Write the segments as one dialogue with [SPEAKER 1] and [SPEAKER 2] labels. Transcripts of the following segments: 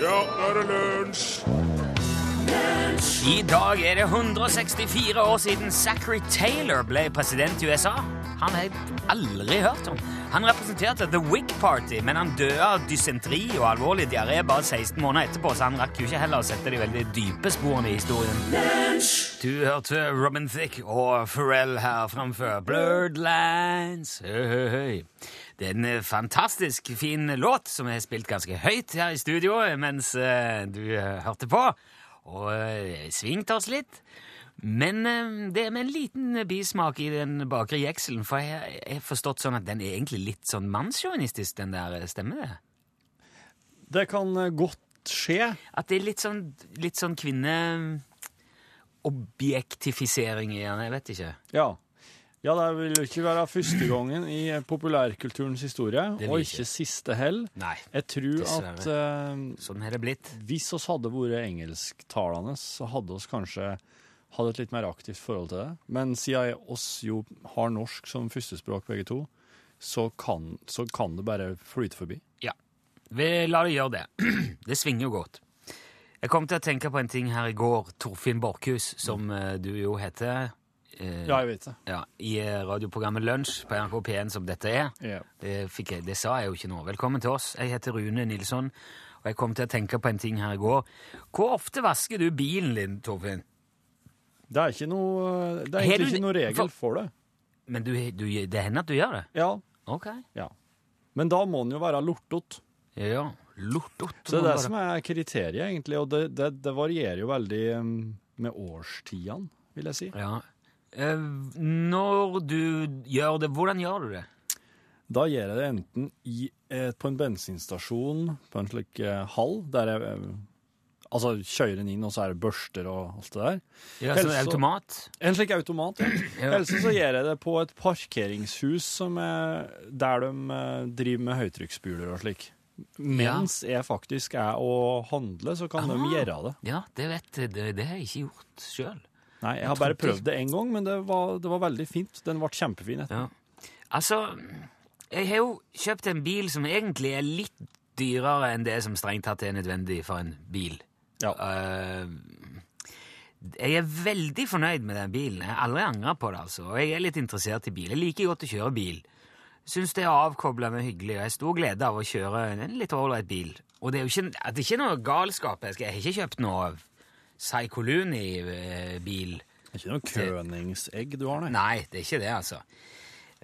[SPEAKER 1] Ja, nå er det lunsj!
[SPEAKER 2] I dag er det 164 år siden Zachary Taylor ble president i USA. Han har jeg aldri hørt om. Han representerte The Whig Party, men han døde av dysentri og alvorlig diaré bare 16 måneder etterpå, så han rakk jo ikke heller å sette de veldig dype sporene i historien. Du hørte Robin Thicke og Pharrell her framfor Blurred Lines. Høy, høy, høy. Det er en eh, fantastisk fin låt som er spilt ganske høyt her i studio mens eh, du eh, hørte på, og eh, svingt oss litt. Men eh, det er med en liten bismak i den bakre jekselen, for jeg jeg har forstått sånn at den er egentlig litt sånn mannssjåvinistisk, den der. Stemmer det?
[SPEAKER 1] Det kan eh, godt skje.
[SPEAKER 2] At det er litt sånn, litt sånn kvinneobjektifisering i den, jeg vet ikke.
[SPEAKER 1] Ja. Ja, det vil jo ikke være første gangen i eh, populærkulturens historie,
[SPEAKER 2] Det vil
[SPEAKER 1] og
[SPEAKER 2] ikke.
[SPEAKER 1] ikke siste hell.
[SPEAKER 2] Nei.
[SPEAKER 1] Jeg tror
[SPEAKER 2] Dessverre.
[SPEAKER 1] at eh,
[SPEAKER 2] Sånn har det blitt.
[SPEAKER 1] hvis oss hadde vært engelsktalende, så hadde oss kanskje hatt et litt mer aktivt forhold til det. Men siden jeg- oss jo har norsk som førstespråk begge to, så kan, så kan det bare flyte forbi.
[SPEAKER 2] Ja, vi lar det gjøre det. Det svinger jo godt. Jeg kom til å tenke på en ting her i går. Torfinn Borchhus, som eh, du jo heter eh,
[SPEAKER 1] Ja, jeg vet det.
[SPEAKER 2] ja, i eh, radioprogrammet Lunsj på NRK P1, som dette er.
[SPEAKER 1] Ja.
[SPEAKER 2] Det, fikk jeg, det sa jeg jo ikke nå. Velkommen til oss. Jeg heter Rune Nilsson, og jeg kom til å tenke på en ting her i går. Hvor ofte vasker du bilen din, Torfinn?
[SPEAKER 1] Det er ikke noe, eh, det er
[SPEAKER 2] Har du-
[SPEAKER 1] egentlig ikke noe regel for det.
[SPEAKER 2] Men du, du, det hender at du gjør det?
[SPEAKER 1] Ja,
[SPEAKER 2] Ok.
[SPEAKER 1] ja. Men da må den jo være lortot.
[SPEAKER 2] Ja, ja. Lortot.
[SPEAKER 1] Så det er det som er kriteriet, egentlig, og det, det, det varierer jo veldig um, med årstidene, vil jeg si.
[SPEAKER 2] Ja. Eh, Når du gjør det, hvordan gjør du det?
[SPEAKER 1] Da gjør jeg det enten i, eh, på en bensinstasjon, på en slik eh, hall, der jeg eh, altså, kjører den inn, og så er det børster og alt det der.
[SPEAKER 2] Ja,
[SPEAKER 1] Helst
[SPEAKER 2] sånn
[SPEAKER 1] så-
[SPEAKER 2] automat?
[SPEAKER 1] En slik automat. Ja.
[SPEAKER 2] Ja.
[SPEAKER 1] Ellers så gjør jeg det på et parkeringshus som er, der de eh, driver med høytrykksbuler og slik. Mens jeg faktisk er og handler, så kan
[SPEAKER 2] Ah.
[SPEAKER 1] de gjøre det.
[SPEAKER 2] Ja, det vet jeg. Det, det har jeg ikke gjort sjøl.
[SPEAKER 1] Nei, jeg har bare
[SPEAKER 2] trodde-
[SPEAKER 1] prøvd det én gang, men det var, det var veldig fint. Den ble kjempefin. etterpå.
[SPEAKER 2] Ja. Altså, jeg har jo kjøpt en bil som egentlig er litt dyrere enn det som strengt tatt er nødvendig for en bil.
[SPEAKER 1] Ja.
[SPEAKER 2] Eh, jeg er veldig fornøyd med den bilen. Jeg har aldri angra på det. altså. Og jeg er litt interessert i bil. Jeg liker godt å kjøre bil. Syns det er avkoblende og hyggelig. og Jeg har stor glede av å kjøre en litt ålreit bil. Og det er jo ikke, det er ikke noe galskap. Jeg, skal, jeg har ikke kjøpt noe Psykoluni-bil.
[SPEAKER 1] Det er ikke noe køningsegg du har, nei.
[SPEAKER 2] Nei, det er ikke det, altså.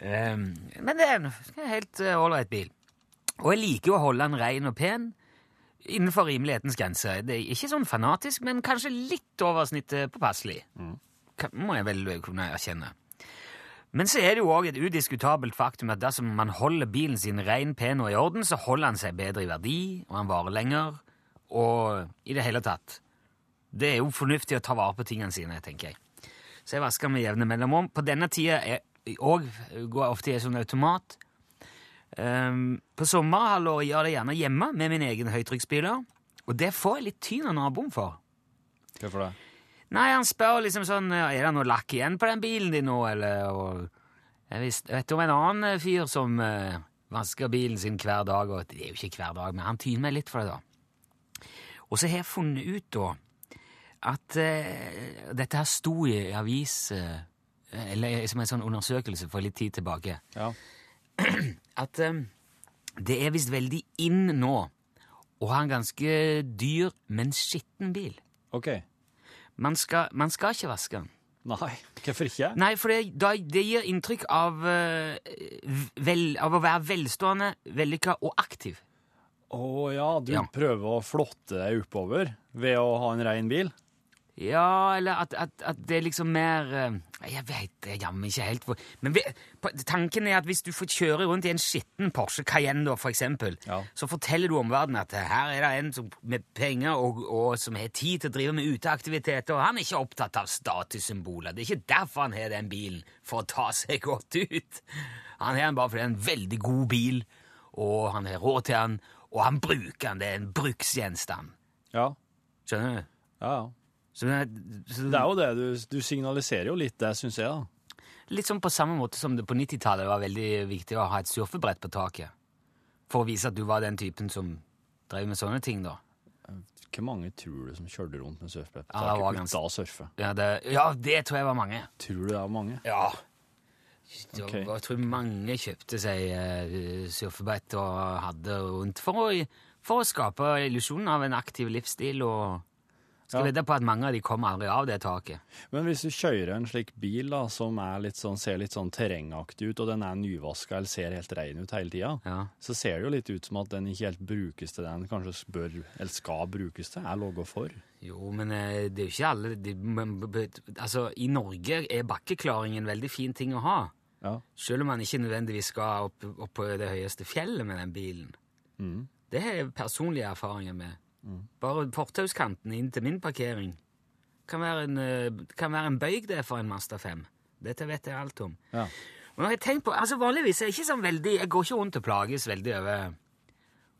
[SPEAKER 2] Ehm, men det er en en helt eh, ålreit bil. Og jeg liker jo å holde den ren og pen innenfor rimelighetens grense. Det er ikke sånn fanatisk, men kanskje litt over snittet påpasselig. Ka- Må jeg vel eh, kunne erkjenne. Men så er det jo òg et udiskutabelt faktum at dersom man holder bilen sin ren, pen og i orden, så holder han seg bedre i verdi, og han varer lenger, og i det hele tatt. Det er jo fornuftig å ta vare på tingene sine, tenker jeg. Så jeg vasker med jevne mellomrom. På denne tida er- og går jeg ofte i en sånn automat. Ehm, på sommerhalvåret gjør jeg det gjerne hjemme med min egen høytrykksspyler. Og det får jeg litt tyn av naboen for.
[SPEAKER 1] Hvorfor det?
[SPEAKER 2] Nei, han spør liksom sånn Er det noe lakk igjen på den bilen din nå, eller og, jeg, visst, jeg vet om en annen eh, fyr som eh, vasker bilen sin hver dag, og det er jo ikke hver dag, men han tyner meg litt for det, da. Og så har jeg funnet ut, da, at eh, Dette her sto i avis eh, Eller som en sånn undersøkelse for litt tid tilbake
[SPEAKER 1] Ja.
[SPEAKER 2] at eh, det er visst veldig inn nå å ha en ganske dyr, men skitten bil.
[SPEAKER 1] OK.
[SPEAKER 2] Man skal, man skal ikke vaske den.
[SPEAKER 1] Nei, hvorfor ikke?
[SPEAKER 2] Nei, for det, da, det gir inntrykk av, eh, vel, av å være velstående, vellykka og aktiv.
[SPEAKER 1] Å ja, du
[SPEAKER 2] Ja.
[SPEAKER 1] prøver å flotte deg oppover ved å ha en rein bil?
[SPEAKER 2] Ja, eller at, at, at det er liksom mer eh, Jeg veit det jammen ikke helt hvor Men vi, på- tanken er at hvis du får kjøre rundt i en skitten Porsche Cayenne, da, for eksempel,
[SPEAKER 1] Ja.
[SPEAKER 2] så forteller du omverdenen at eh, her er det en som, med penger og, og som har tid til å drive med uteaktiviteter, og han er ikke opptatt av statussymboler. Det er ikke derfor han har den bilen, for å ta seg godt ut. Han har den bare fordi det er en veldig god bil, og han har råd til den, og han bruker den. Det er en bruksgjenstand.
[SPEAKER 1] Ja.
[SPEAKER 2] Skjønner du?
[SPEAKER 1] ja, ja.
[SPEAKER 2] Så, det er- så,
[SPEAKER 1] Det er jo det. Du, du signaliserer jo litt det, syns jeg, da.
[SPEAKER 2] Litt sånn på samme måte som det på 90-tallet var veldig viktig å ha et surfebrett på taket. For å vise at du var den typen som drev med sånne ting, da.
[SPEAKER 1] Hvor mange tror du som kjørte rundt med surfbrett på
[SPEAKER 2] Ja, det var
[SPEAKER 1] taket uten å surfe?
[SPEAKER 2] Ja, det, ja, det tror jeg var mange.
[SPEAKER 1] Tror du det er mange?
[SPEAKER 2] Ja. Det
[SPEAKER 1] Ok.
[SPEAKER 2] var- Jeg tror mange kjøpte seg eh, surfebrett og hadde rundt for å, for å skape illusjonen av en aktiv livsstil. og skal
[SPEAKER 1] Ja.
[SPEAKER 2] vedde på at mange av de kommer aldri av det taket.
[SPEAKER 1] Men hvis du kjører en slik bil da, som er litt sånn, ser litt sånn terrengaktig ut, og den er nyvaska eller ser helt rein ut hele tida,
[SPEAKER 2] Ja.
[SPEAKER 1] så ser det jo litt ut som at den ikke helt brukes til det den kanskje bør eller skal brukes til, er logga for.
[SPEAKER 2] Jo, men eh, det er jo ikke alle de, men, b- b- Altså, i Norge er bakkeklaring en veldig fin ting å ha.
[SPEAKER 1] Ja.
[SPEAKER 2] Selv om man ikke nødvendigvis skal opp, opp på det høyeste fjellet med den bilen. Det har jeg personlige erfaringer med. Bare fortauskanten inn til min parkering kan være en, eh, kan være en bøyg det for en Mazda 5. Dette vet jeg alt om.
[SPEAKER 1] Ja.
[SPEAKER 2] Men jeg har tenkt på, altså vanligvis er jeg ikke sånn veldig, jeg går ikke rundt og plages veldig over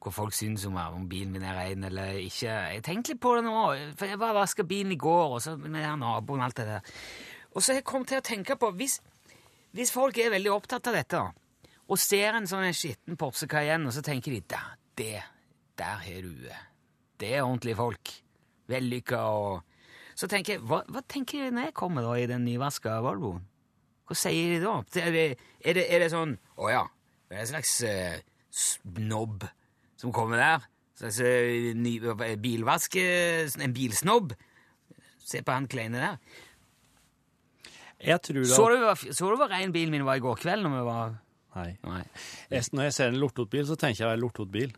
[SPEAKER 2] hva folk syns om meg, om bilen min er ren eller ikke. Jeg tenkte litt på det nå, for jeg bare vasket bilen i går, og så med den naboen og alt det der. Og så har jeg kommet til å tenke på, hvis, hvis folk er veldig opptatt av dette, og ser en sånn en skitten Porsche Cayenne, og så tenker de, der, det, der har du det. Det er ordentlige folk. Vellykka og... Så tenker jeg, hva, hva tenker de når jeg kommer da i den nyvaska Volvoen? Hva sier de da? Er det, er det, er det sånn Å ja, det er en slags eh, snobb som kommer der. En Slags eh, ny, bilvask eh, En bilsnobb. Se på han kleine der.
[SPEAKER 1] Jeg tror at...
[SPEAKER 2] Så du hva- så du hva rein bilen min var i går kveld? Når vi var
[SPEAKER 1] Nei.
[SPEAKER 2] Nei.
[SPEAKER 1] Jeg, når jeg ser en lortet bil, så tenker jeg det er en lortet bil.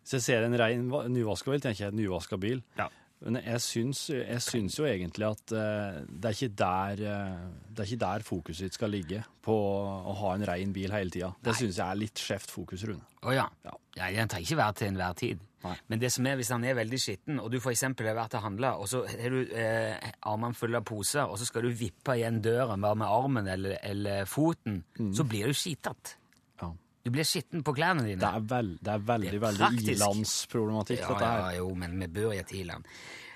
[SPEAKER 1] Hvis jeg ser en rein va- nyvaska bil, tenker jeg en nyvaska bil.
[SPEAKER 2] Ja.
[SPEAKER 1] Men jeg syns, jeg syns jo egentlig at eh, det, er ikke der, eh, det er ikke der fokuset ditt skal ligge, på å ha en rein bil hele tida. Det syns jeg er litt skjevt fokus, Rune.
[SPEAKER 2] Å ja.
[SPEAKER 1] Ja.
[SPEAKER 2] ja. Den trenger ikke være til enhver tid.
[SPEAKER 1] Nei.
[SPEAKER 2] Men det som er, hvis han er veldig skitten, og du for eksempel har vært og handla, og så har du eh, armene fulle av poser, og så skal du vippe igjen døren bare med armen eller, eller foten,
[SPEAKER 1] Mm.
[SPEAKER 2] så blir du skitete.
[SPEAKER 1] Ja.
[SPEAKER 2] Du blir skitten på klærne dine.
[SPEAKER 1] Det, er vel, det er veldig,
[SPEAKER 2] Det er praktisk.
[SPEAKER 1] veldig ilandsproblematikk,
[SPEAKER 2] ja,
[SPEAKER 1] dette her.
[SPEAKER 2] ja, jo, men vi bor i et i-land.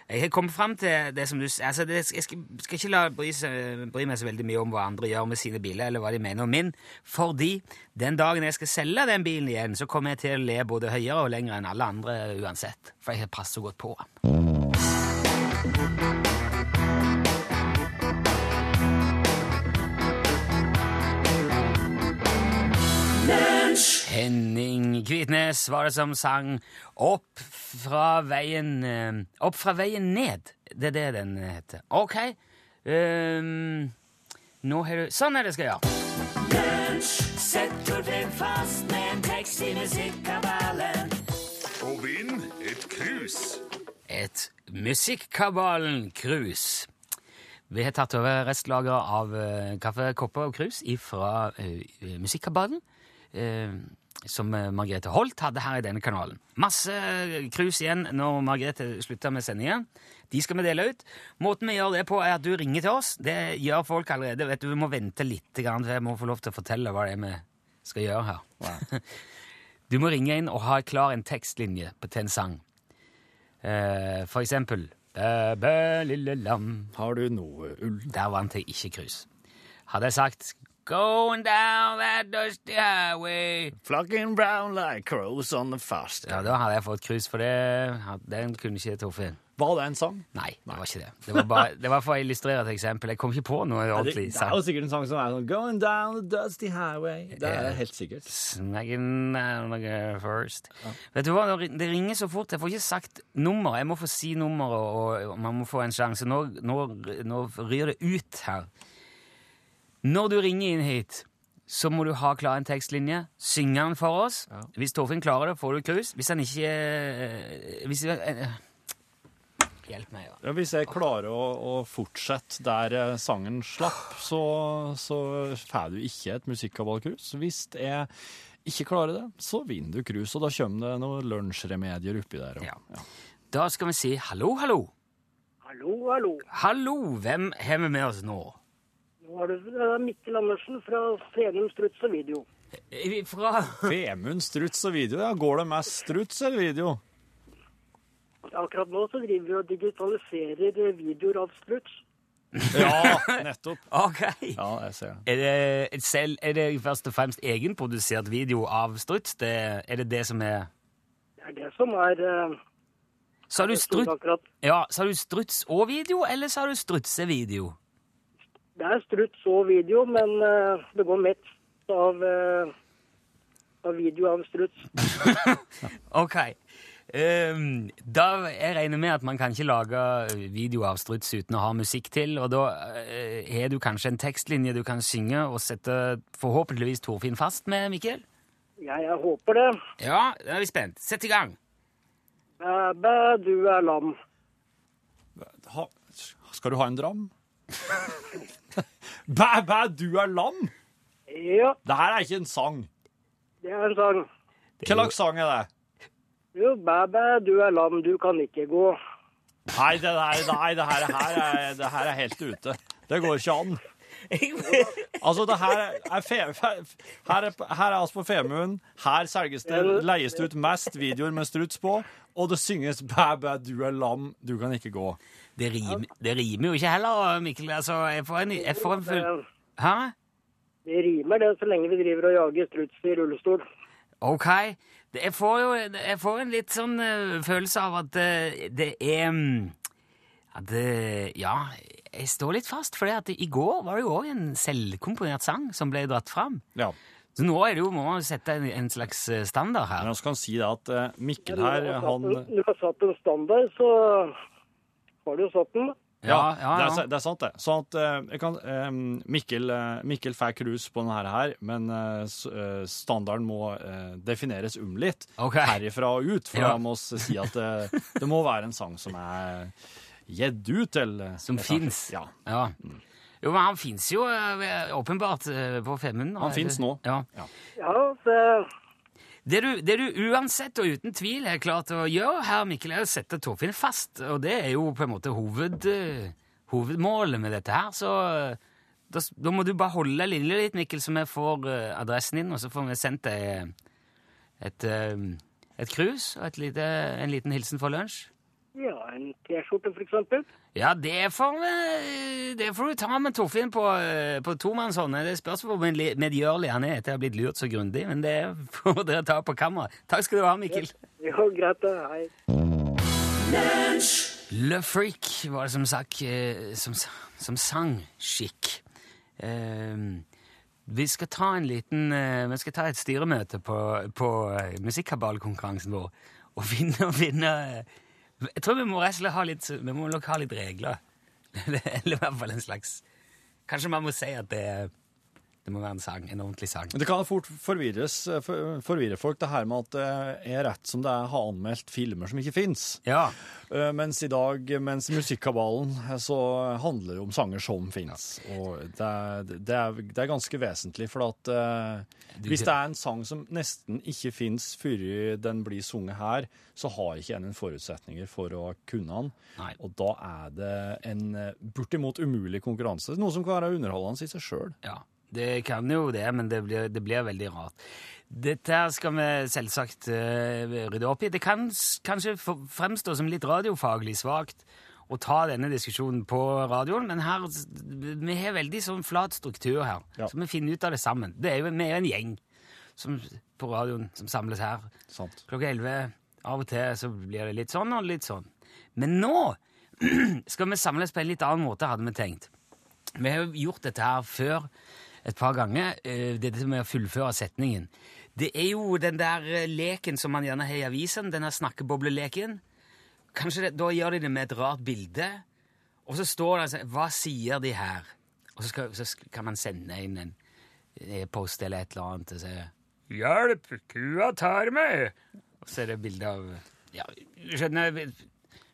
[SPEAKER 2] Jeg har kommet fram til det som du s- altså det, Jeg skal, skal ikke la bry, seg- bry meg så veldig mye om hva andre gjør med sine biler, eller hva de mener om min, fordi den dagen jeg skal selge den bilen igjen, så kommer jeg til å le både høyere og lenger enn alle andre uansett. For jeg har passet så godt på den. Henning Kvitnes var det som sang Opp fra veien eh, Opp fra veien ned. Det er det den heter. Ok. ehm, nå har du Sånn er det jeg skal gjøre.
[SPEAKER 3] Og vinn et krus.
[SPEAKER 2] Et Musikkabalen Krus. Vi har tatt over restlageret av eh, kaffe, kopper og krus fra Musikkabalen. eh, som eh, Margrethe Holt hadde her i denne kanalen. Masse eh, krus igjen når Margrethe slutter med sendingen. De skal vi dele ut. Måten vi gjør det på, er at du ringer til oss. Det gjør folk allerede. Vet du, Vi må vente litt, grann, for jeg må få lov til å fortelle hva det er vi skal gjøre her. Du må ringe inn og ha klar en tekstlinje på til en sang. Eh, for eksempel Bæ, bæ, lille lam
[SPEAKER 1] Har du noe ull?
[SPEAKER 2] der vant jeg ikke kryss. Hadde jeg sagt Going down that dusty highway
[SPEAKER 1] Flocking brown like crows on the fast.
[SPEAKER 2] Ja, da hadde jeg fått kryss for det. Had- Den kunne ikke jeg truffet.
[SPEAKER 1] Var det en sang?
[SPEAKER 2] Nei, det var ikke det. Det var, bare, det var for å illustrere et eksempel. Jeg kom ikke på noe
[SPEAKER 1] Det, det
[SPEAKER 2] ordentlig.
[SPEAKER 1] er jo sikkert en sang som er sånn Going down the dusty highway. Det er helt sikkert.
[SPEAKER 2] Snagging down the girl first. eh, Vet du hva, det ri- det ringer så fort. Jeg får ikke sagt nummer. Jeg må få si nummer, og, og man må få en sjanse. Nå, nå, nå ryr det ut her. Når du ringer inn hit, så må du ha klar en tekstlinje. Synge den for oss. Hvis Torfinn klarer det, får du krus. Hvis han ikke eh, hvis, eh, eh, Hjelp meg, da.
[SPEAKER 1] Ja, hvis jeg klarer å, å fortsette der eh, sangen slapp, så, så får du ikke et musikkavvalkrus. Hvis jeg ikke klarer det, så vinner du krus, og da kommer det noen lunsjremedier oppi der.
[SPEAKER 2] Ja.
[SPEAKER 1] Og, ja.
[SPEAKER 2] Da skal vi si hallo, hallo.
[SPEAKER 4] Hallo, hallo.
[SPEAKER 2] Hallo, hvem har vi med oss nå?
[SPEAKER 4] Nå er det eh, Mikkel Andersen fra Frenum Struts og Video.
[SPEAKER 2] Eh, Fra
[SPEAKER 1] Femund, struts og video. Ja, går det mest struts eller video?
[SPEAKER 4] Akkurat nå så driver vi og digitaliserer eh, videoer av struts.
[SPEAKER 1] Ja, nettopp.
[SPEAKER 2] Ok.
[SPEAKER 1] Ja, jeg ser det.
[SPEAKER 2] Er det, et selv, er det først og fremst egenprodusert video av struts? Det, er det det som er
[SPEAKER 4] Det er det som er eh,
[SPEAKER 2] Sa du,
[SPEAKER 4] Det sto
[SPEAKER 2] struts,
[SPEAKER 4] akkurat.
[SPEAKER 2] ja, sa du struts og video, eller sa du strutsevideo?
[SPEAKER 4] Det er struts og video, men eh, det går mest av, eh, av video av struts.
[SPEAKER 2] Ok. Ehm, da jeg regner med at man kan ikke lage eh, video av struts uten å ha musikk til, og da eh, har du kanskje en tekstlinje du kan synge og sette forhåpentligvis Torfinn fast med, Mikkel?
[SPEAKER 4] Ja, jeg håper det.
[SPEAKER 2] Ja, da er vi spent. Sett i gang!
[SPEAKER 4] Bæ, bæ, du er lam.
[SPEAKER 1] Ha, skal du ha en dram? bæ, bæ, du er lam!
[SPEAKER 4] Ja,
[SPEAKER 1] Det her er ikke en sang.
[SPEAKER 4] det er en sang.
[SPEAKER 1] Hva slags sang er det?
[SPEAKER 4] Jo, bæ, bæ, du er lam, du kan ikke gå.
[SPEAKER 1] Nei, det, der, nei, det, her, her er, det her er helt ute. Det går ikke an. Altså, det her er fe, fe, Her er, her er altså på Femund. Her selges det, leies det ut mest videoer med struts på, og det synges 'bæ, bæ, du er lam, du kan ikke gå'.
[SPEAKER 2] Det rimer, det rimer jo ikke heller, Mikkel. Altså, jeg får en, jeg får en full...
[SPEAKER 4] Det,
[SPEAKER 2] Hæ?
[SPEAKER 4] Eh, det rimer det, så lenge vi driver og jager struts i rullestol.
[SPEAKER 2] Ok. Det- Jeg får jo jeg får en litt sånn eh, følelse av at eh, det er mm, At det Ja, jeg står litt fast, for i går var det jo òg en selvkomponert sang som ble dratt fram.
[SPEAKER 1] Ja.
[SPEAKER 2] Så nå er det jo, må man jo sette en, en slags eh, standard her.
[SPEAKER 1] Men jeg kan si det at eh, Mikkel
[SPEAKER 4] Når
[SPEAKER 1] her,
[SPEAKER 4] du har satt
[SPEAKER 1] han
[SPEAKER 4] en- når du har satt en standard, så har du jo satt den.
[SPEAKER 1] Ja,
[SPEAKER 2] Ja, ja,
[SPEAKER 1] Det,
[SPEAKER 2] ja.
[SPEAKER 1] er, sa- det er sant, det. Sånn at eh, jeg kan, eh, Mikkel, eh, Mikkel fikk rus på denne her, men eh, s- eh, standarden må eh, defineres um litt
[SPEAKER 2] Ok.
[SPEAKER 1] herifra og ut. For
[SPEAKER 2] Ja.
[SPEAKER 1] da må vi si at det, det må være en sang som er gitt ut, eller
[SPEAKER 2] Som fins.
[SPEAKER 1] Ja.
[SPEAKER 2] Ja. Jo, men han fins jo eh, åpenbart eh, på Femund.
[SPEAKER 1] Han finnes nå.
[SPEAKER 2] Ja.
[SPEAKER 4] Ja, så
[SPEAKER 2] Det du, det du uansett og uten tvil har klart å gjøre her, Mikkel, er å sette Torfinn fast. Og det er jo på en måte hoved, eh, hovedmålet med dette her. Så eh, da, s- da må du bare holde linja litt, Mikkel, så vi får eh, adressen din, og så får vi sendt deg eh, et, eh, et krus og et lite, en liten hilsen for lunsj.
[SPEAKER 4] ja, en T-skjorte for eksempel.
[SPEAKER 2] Ja, det får, vi- eh, det får du ta med Torfinn på, eh, på tomannshånd. Det spørs hvor medli- medgjørlig han er etter å ha blitt lurt så grundig, men det får dere ta på kamera. Takk skal du ha, Mikkel.
[SPEAKER 4] Jo, greit det. Hei.
[SPEAKER 2] Le Freak var det som, sak, eh, som, sa- som sang skikk. Ehm, vi skal ta en liten eh, Vi skal ta et styremøte på, på eh, musikkabalkonkurransen vår og finne og finne eh, Jeg tror vi må rett og slett ha litt Vi må nok ha litt regler. Eller eller i hvert fall en slags Kanskje man må si at det, det må være en sang. En ordentlig sang.
[SPEAKER 1] Men det kan fort forvirres, eh, for- forvirre folk, det her med at eh, jeg rett som det er har anmeldt filmer som ikke fins.
[SPEAKER 2] Ja.
[SPEAKER 1] Eh, Mens i dag, mens i musikkabalen, eh, så handler det om sanger som finnes. Og det er, det er, det er ganske vesentlig, for at eh, hvis det er en sang som nesten ikke finnes før den blir sunget her, så har ikke en en forutsetninger for å kunne den.
[SPEAKER 2] Nei.
[SPEAKER 1] Og da er det en eh, bortimot umulig konkurranse, noe som kan være underholdende i seg sjøl.
[SPEAKER 2] Ja, det kan jo det, men det blir, det blir veldig rart. Dette her skal vi selvsagt eh, rydde opp i. Det kan s- kanskje f- fremstå som litt radiofaglig svakt å ta denne diskusjonen på radioen, men her, s- vi har veldig sånn flat struktur her,
[SPEAKER 1] Ja.
[SPEAKER 2] så vi finner ut av det sammen. Det er jo, vi er jo en gjeng som, på radioen som samles her
[SPEAKER 1] Sant.
[SPEAKER 2] klokka 11. Av og til så blir det litt sånn og litt sånn. Men nå skal vi samles på en litt annen måte, hadde vi tenkt. Vi har jo gjort dette her før et par ganger, eh, dette med å fullføre setningen. Det er jo den der eh, leken som man gjerne har i avisen, denne snakkebobleleken. Kanskje det, Da gjør de det med et rart bilde, og så står det altså, Hva sier de her? Og så, skal, så sk- kan man sende inn en e-post eller et eller annet og si Hjelp, kua tar meg! Og så er det bilde av Ja, du skjønner jeg-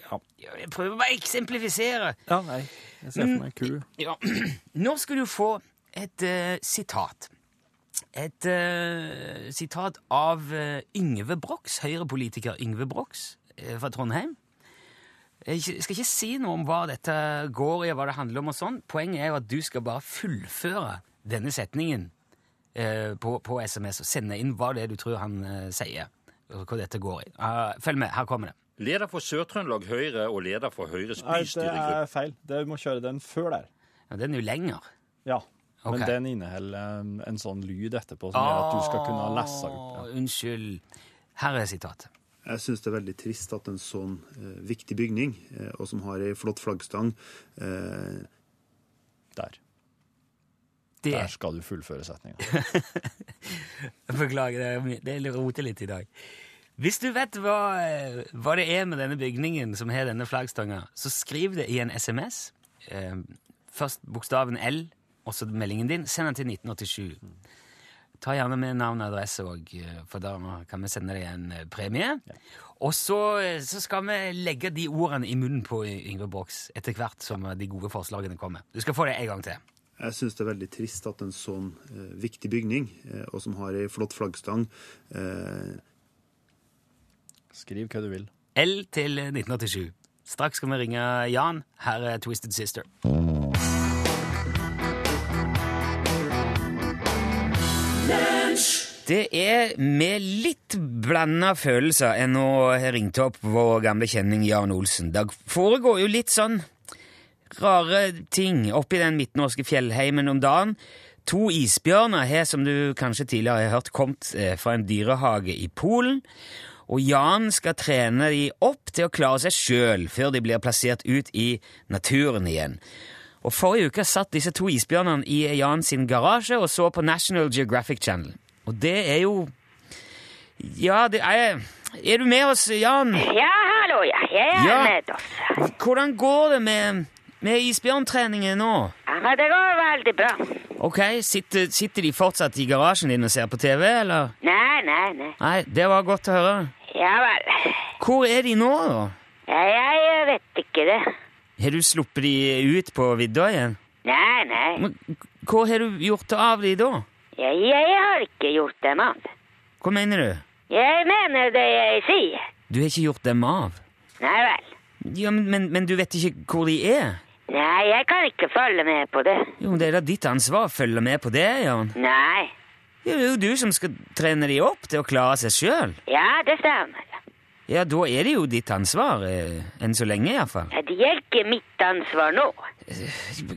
[SPEAKER 1] Ja.
[SPEAKER 2] Jeg prøver bare å eksemplifisere.
[SPEAKER 1] Ja, nei. Jeg ser for meg ku.
[SPEAKER 2] Ja. Nå skal du få et eh, sitat. Et eh, sitat av eh, Yngve Brox, Høyre-politiker Yngve Brox eh, fra Trondheim. Jeg ikke- skal ikke si noe om hva dette går i, og hva det handler om. og sånn. Poenget er jo at du skal bare fullføre denne setningen eh, på, på SMS og sende inn hva det er du tror han eh, sier, og hva dette går i. Eh, følg med, her kommer det.
[SPEAKER 5] Leder for Sør-Trøndelag Høyre og leder for Høyres
[SPEAKER 1] Nei, det
[SPEAKER 5] bystyregruppe.
[SPEAKER 1] er feil. Det, vi må kjøre den før der.
[SPEAKER 2] Ja, den er jo lenger.
[SPEAKER 1] Ja.
[SPEAKER 2] Ok.
[SPEAKER 1] Men den inneholder um,
[SPEAKER 6] Ah.
[SPEAKER 1] en sånn lyd etterpå som gjør at du skal kunne lese ut. Ja.
[SPEAKER 2] Åh, Unnskyld. Her er sitatet.
[SPEAKER 7] Jeg syns det er veldig trist at en sånn eh, viktig bygning, eh, og som har ei flott flaggstang eh,
[SPEAKER 1] Der.
[SPEAKER 2] Det,
[SPEAKER 1] Der skal du fullføre setninga.
[SPEAKER 2] beklager, det er mye- det er litt rotet litt i dag. Hvis du vet hva, eh, hva det er med denne bygningen som har denne flaggstanga, så skriv det i en SMS. Eh, først bokstaven L, og så meldingen din. Send den til 1987. Ta gjerne med navn og adresse òg, for da kan vi sende deg en eh, premie. Og så, eh, så skal vi legge de ordene i munnen på Yngve Brox etter hvert som eh, de gode forslagene kommer. Du skal få det en gang til.
[SPEAKER 7] Jeg syns det er veldig trist at en sånn eh, viktig bygning, eh, og som har ei flott flaggstang eh,
[SPEAKER 1] Skriv hva du vil.
[SPEAKER 2] L til 1987. Straks skal vi ringe Jan. Her er Twisted Sister. Det er med litt blanda følelser jeg nå har ringt opp vår gamle kjenning Jan Olsen. Det foregår jo litt sånn rare ting oppi den midtnorske fjellheimen om dagen. To isbjørner har, som du kanskje tidligere har hørt, kommet eh, fra en dyrehage i Polen. Og Jan skal trene de opp til å klare seg sjøl før de blir plassert ut i naturen igjen. Og Forrige uke satt disse to isbjørnene i Jan sin garasje og så på National Geographic Channel. Og det er jo Ja, det er Er du med oss, Jan?
[SPEAKER 8] Ja, hallo, ja. Jeg er
[SPEAKER 2] Ja.
[SPEAKER 8] med oss.
[SPEAKER 2] Hvordan går det med, med isbjørntreningen nå?
[SPEAKER 8] Ja, men det går veldig bra.
[SPEAKER 2] Ok, sitter, sitter de fortsatt i garasjen din og ser på TV, eller?
[SPEAKER 8] Nei, nei, nei.
[SPEAKER 2] Nei, det var godt å høre.
[SPEAKER 8] Ja vel.
[SPEAKER 2] Hvor er de nå, da?
[SPEAKER 8] Ja, jeg vet ikke det.
[SPEAKER 2] Har du sluppet de ut på vidda igjen?
[SPEAKER 8] Nei, nei.
[SPEAKER 2] Men hva har du gjort av de da?
[SPEAKER 8] Ja, jeg har ikke gjort dem av.
[SPEAKER 2] Hva mener du?
[SPEAKER 8] Jeg mener det jeg sier.
[SPEAKER 2] Du har ikke gjort dem av.
[SPEAKER 8] Nei vel.
[SPEAKER 2] Ja, men, men, men du vet ikke hvor de er?
[SPEAKER 8] Nei, jeg kan ikke følge med på det.
[SPEAKER 2] Jo, men det er da ditt ansvar å følge med på det, Jan.
[SPEAKER 8] Nei.
[SPEAKER 2] Ja, Det er jo du som skal trene de opp til å klare seg sjøl.
[SPEAKER 8] Ja, det stemmer.
[SPEAKER 2] Ja, da er det jo ditt ansvar. Eh, enn så lenge, iallfall.
[SPEAKER 8] Ja, Det er ikke mitt ansvar nå.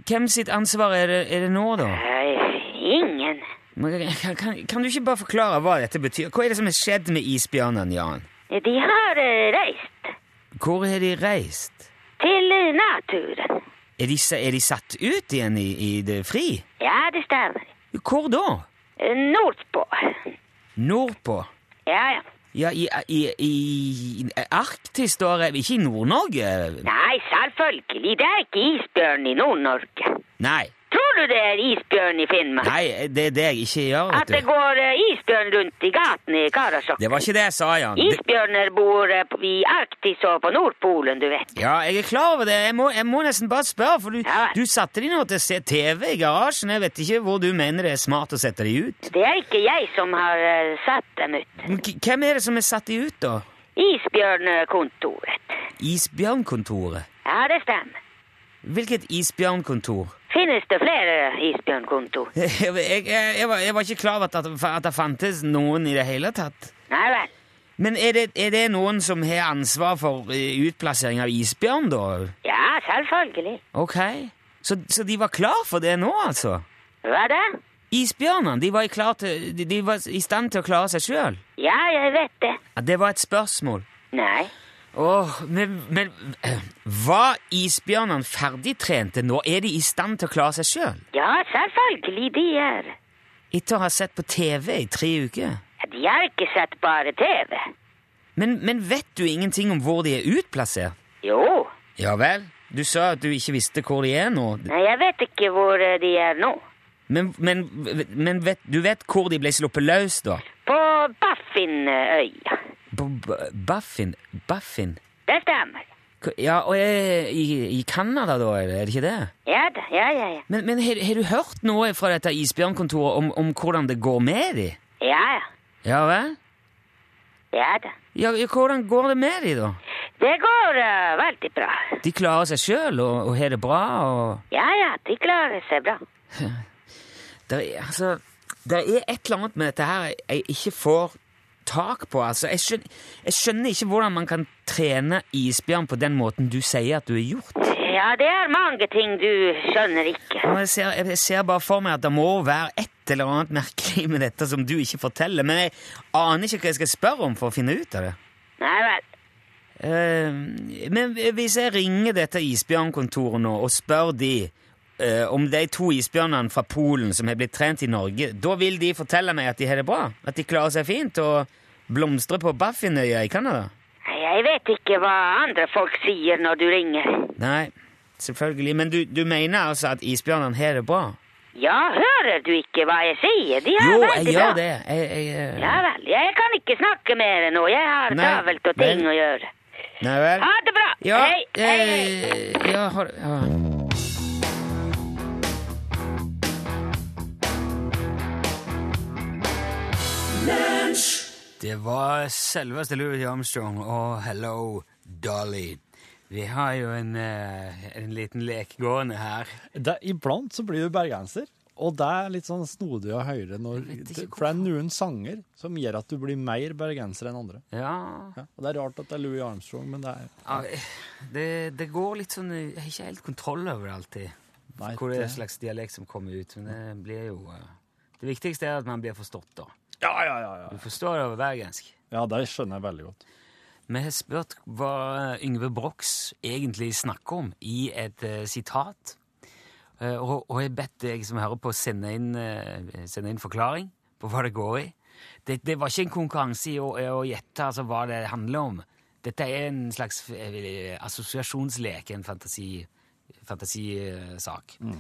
[SPEAKER 2] Hvem sitt ansvar er det, er det nå, da?
[SPEAKER 8] Nei, Ingen.
[SPEAKER 2] Men kan, kan, kan du ikke bare forklare hva dette betyr? Hva er det som har skjedd med isbjørnene, Jan?
[SPEAKER 8] De har eh, reist
[SPEAKER 2] Hvor har de reist?
[SPEAKER 8] til eh, naturen.
[SPEAKER 2] Er de, sa- er de satt ut igjen i, i det fri?
[SPEAKER 8] Ja, det stemmer.
[SPEAKER 2] Hvor da?
[SPEAKER 8] Eh, Nordpå.
[SPEAKER 2] Nordpå?
[SPEAKER 8] Ja, ja.
[SPEAKER 2] Ja, i, i, i, i Arktis, da? er- Ikke i Nord-Norge?
[SPEAKER 8] Nei, selvfølgelig. Det er ikke isbjørn i Nord-Norge.
[SPEAKER 2] Nei.
[SPEAKER 8] Tror du det er isbjørn i Finnmark?
[SPEAKER 2] Nei, det er det jeg ikke gjør,
[SPEAKER 8] At det
[SPEAKER 2] vet du.
[SPEAKER 8] går eh, isbjørn rundt i gatene i Karasjok?
[SPEAKER 2] Det var ikke det jeg sa, Jan. Det,
[SPEAKER 8] Isbjørner bor eh, på- i Arktis og på Nordpolen, du vet.
[SPEAKER 2] ja, jeg er klar over det. Jeg må, jeg må nesten bare spørre, for du,
[SPEAKER 8] Ja.
[SPEAKER 2] du satte de nå til å se TV i garasjen. Jeg vet ikke hvor du mener det er smart å sette de ut.
[SPEAKER 8] Det er ikke jeg som har eh, satt dem ut.
[SPEAKER 2] Men k- hvem er det som har satt de ut, da?
[SPEAKER 8] Isbjørnkontoret.
[SPEAKER 2] Isbjørnkontoret.
[SPEAKER 8] Ja, det stemmer.
[SPEAKER 2] Hvilket isbjørnkontor?
[SPEAKER 8] Finnes det flere isbjørnkontor?
[SPEAKER 2] Jeg, jeg, jeg, var, jeg var ikke klar over at, det- at det fantes noen i det hele tatt.
[SPEAKER 8] Nei vel.
[SPEAKER 2] Men er det, er det noen som har ansvar for eh, utplassering av isbjørn, da?
[SPEAKER 8] Ja, selvfølgelig.
[SPEAKER 2] Ok. Så, så de var klar for det nå, altså?
[SPEAKER 8] Hva da?
[SPEAKER 2] Isbjørnene de var, i klar til, de, de var i stand til å klare seg sjøl?
[SPEAKER 8] Ja, jeg vet det.
[SPEAKER 2] Ja, det var et spørsmål.
[SPEAKER 8] Nei.
[SPEAKER 2] Åh, men, men eh, Var isbjørnene ferdigtrente nå? Er de i stand til å klare seg sjøl?
[SPEAKER 8] Ja, selvfølgelig de er.
[SPEAKER 2] Etter å ha sett på TV i tre uker?
[SPEAKER 8] Ja, De har ikke sett bare TV.
[SPEAKER 2] Men, men vet du ingenting om hvor de er utplassert?
[SPEAKER 8] Jo.
[SPEAKER 2] Ja vel? Du sa at du ikke visste hvor de er nå.
[SPEAKER 8] Nei, jeg vet ikke hvor eh, de er nå.
[SPEAKER 2] Men, men, men vet, du vet hvor de ble sluppet løs, da?
[SPEAKER 8] På Baffinøya.
[SPEAKER 2] På B- Baffin? Baffin?
[SPEAKER 8] Det stemmer.
[SPEAKER 2] Hva- Ja, og eh, i, i Canada, da, er det- er det ikke det?
[SPEAKER 8] Ja da, ja, ja, ja.
[SPEAKER 2] Men, men har, har du hørt noe fra dette isbjørnkontoret om, om hvordan det går med de?
[SPEAKER 8] Ja, ja.
[SPEAKER 2] Ja vel?
[SPEAKER 8] Ja da.
[SPEAKER 2] Ja, ja, hvordan går det med de, da?
[SPEAKER 8] Det går eh, veldig bra.
[SPEAKER 2] De klarer seg sjøl og, og har det bra og
[SPEAKER 8] Ja, ja, de klarer seg bra.
[SPEAKER 2] Der er, altså, der er et eller annet med dette her jeg ikke får tak på. Altså, jeg, skjønner, jeg skjønner ikke hvordan man kan trene isbjørn på den måten du sier at du har gjort.
[SPEAKER 8] Ja, det er mange ting du skjønner ikke.
[SPEAKER 2] Og Jeg ser, jeg ser bare for meg at det må være et eller annet merkelig med dette som du ikke forteller, men jeg aner ikke hva jeg skal spørre om for å finne ut av det.
[SPEAKER 8] Nei vel.
[SPEAKER 2] Eh, men hvis jeg ringer dette isbjørnkontoret nå og spør de eh, om de to isbjørnene fra Polen som har blitt trent i Norge, da vil de fortelle meg at de har det bra? At de klarer seg fint og blomstrer på Baffinøya i Canada?
[SPEAKER 8] Nei, Jeg vet ikke hva andre folk sier når du ringer.
[SPEAKER 2] Nei, selvfølgelig. Men du, du mener altså at isbjørnene har det bra?
[SPEAKER 8] Ja, hører du ikke hva jeg sier? De har
[SPEAKER 2] Jo,
[SPEAKER 8] veldig
[SPEAKER 2] jeg
[SPEAKER 8] bra.
[SPEAKER 2] gjør det. Jeg, jeg, eh,
[SPEAKER 8] Ja vel. Jeg kan ikke snakke mer nå. Jeg har
[SPEAKER 2] Nei,
[SPEAKER 8] travelt og ting
[SPEAKER 2] vel.
[SPEAKER 8] å gjøre.
[SPEAKER 2] Nei vel?
[SPEAKER 8] Ha det bra!
[SPEAKER 2] Ja,
[SPEAKER 8] hei, hei, hei.
[SPEAKER 2] eh, ja, har, ja. Det var selveste Louis Armstrong og Hello Dolly. Vi har jo en, eh, en liten lek gående her.
[SPEAKER 1] Det, iblant så blir du bergenser, og det er litt sånn snodig å høre. Når, for det er noen sanger som gjør at du blir mer bergenser enn andre.
[SPEAKER 2] Ja,
[SPEAKER 1] Ja, og Det er rart at det er Louis Armstrong, men det er
[SPEAKER 2] ja, det, det går litt sånn Jeg har ikke helt kontroll over det alltid.
[SPEAKER 1] Nei,
[SPEAKER 2] Hvor det er
[SPEAKER 1] det-
[SPEAKER 2] slags dialekt som kommer ut. Men det blir jo eh, Det viktigste er at man blir forstått, da.
[SPEAKER 1] Ja, ja, ja. Ja,
[SPEAKER 2] Du forstår det over bergensk.
[SPEAKER 1] ja det skjønner jeg veldig godt.
[SPEAKER 2] Vi har spurt hva Yngve Brox egentlig snakker om i et eh, sitat. Eh, og, og jeg bedt deg som hører på, sende inn, eh, sende inn forklaring på hva det går i. Det, det var ikke en konkurranse i å, å gjette altså, hva det handler om. Dette er en slags eh, assosiasjonslek, en fantasi- fantasisak.
[SPEAKER 1] Mm.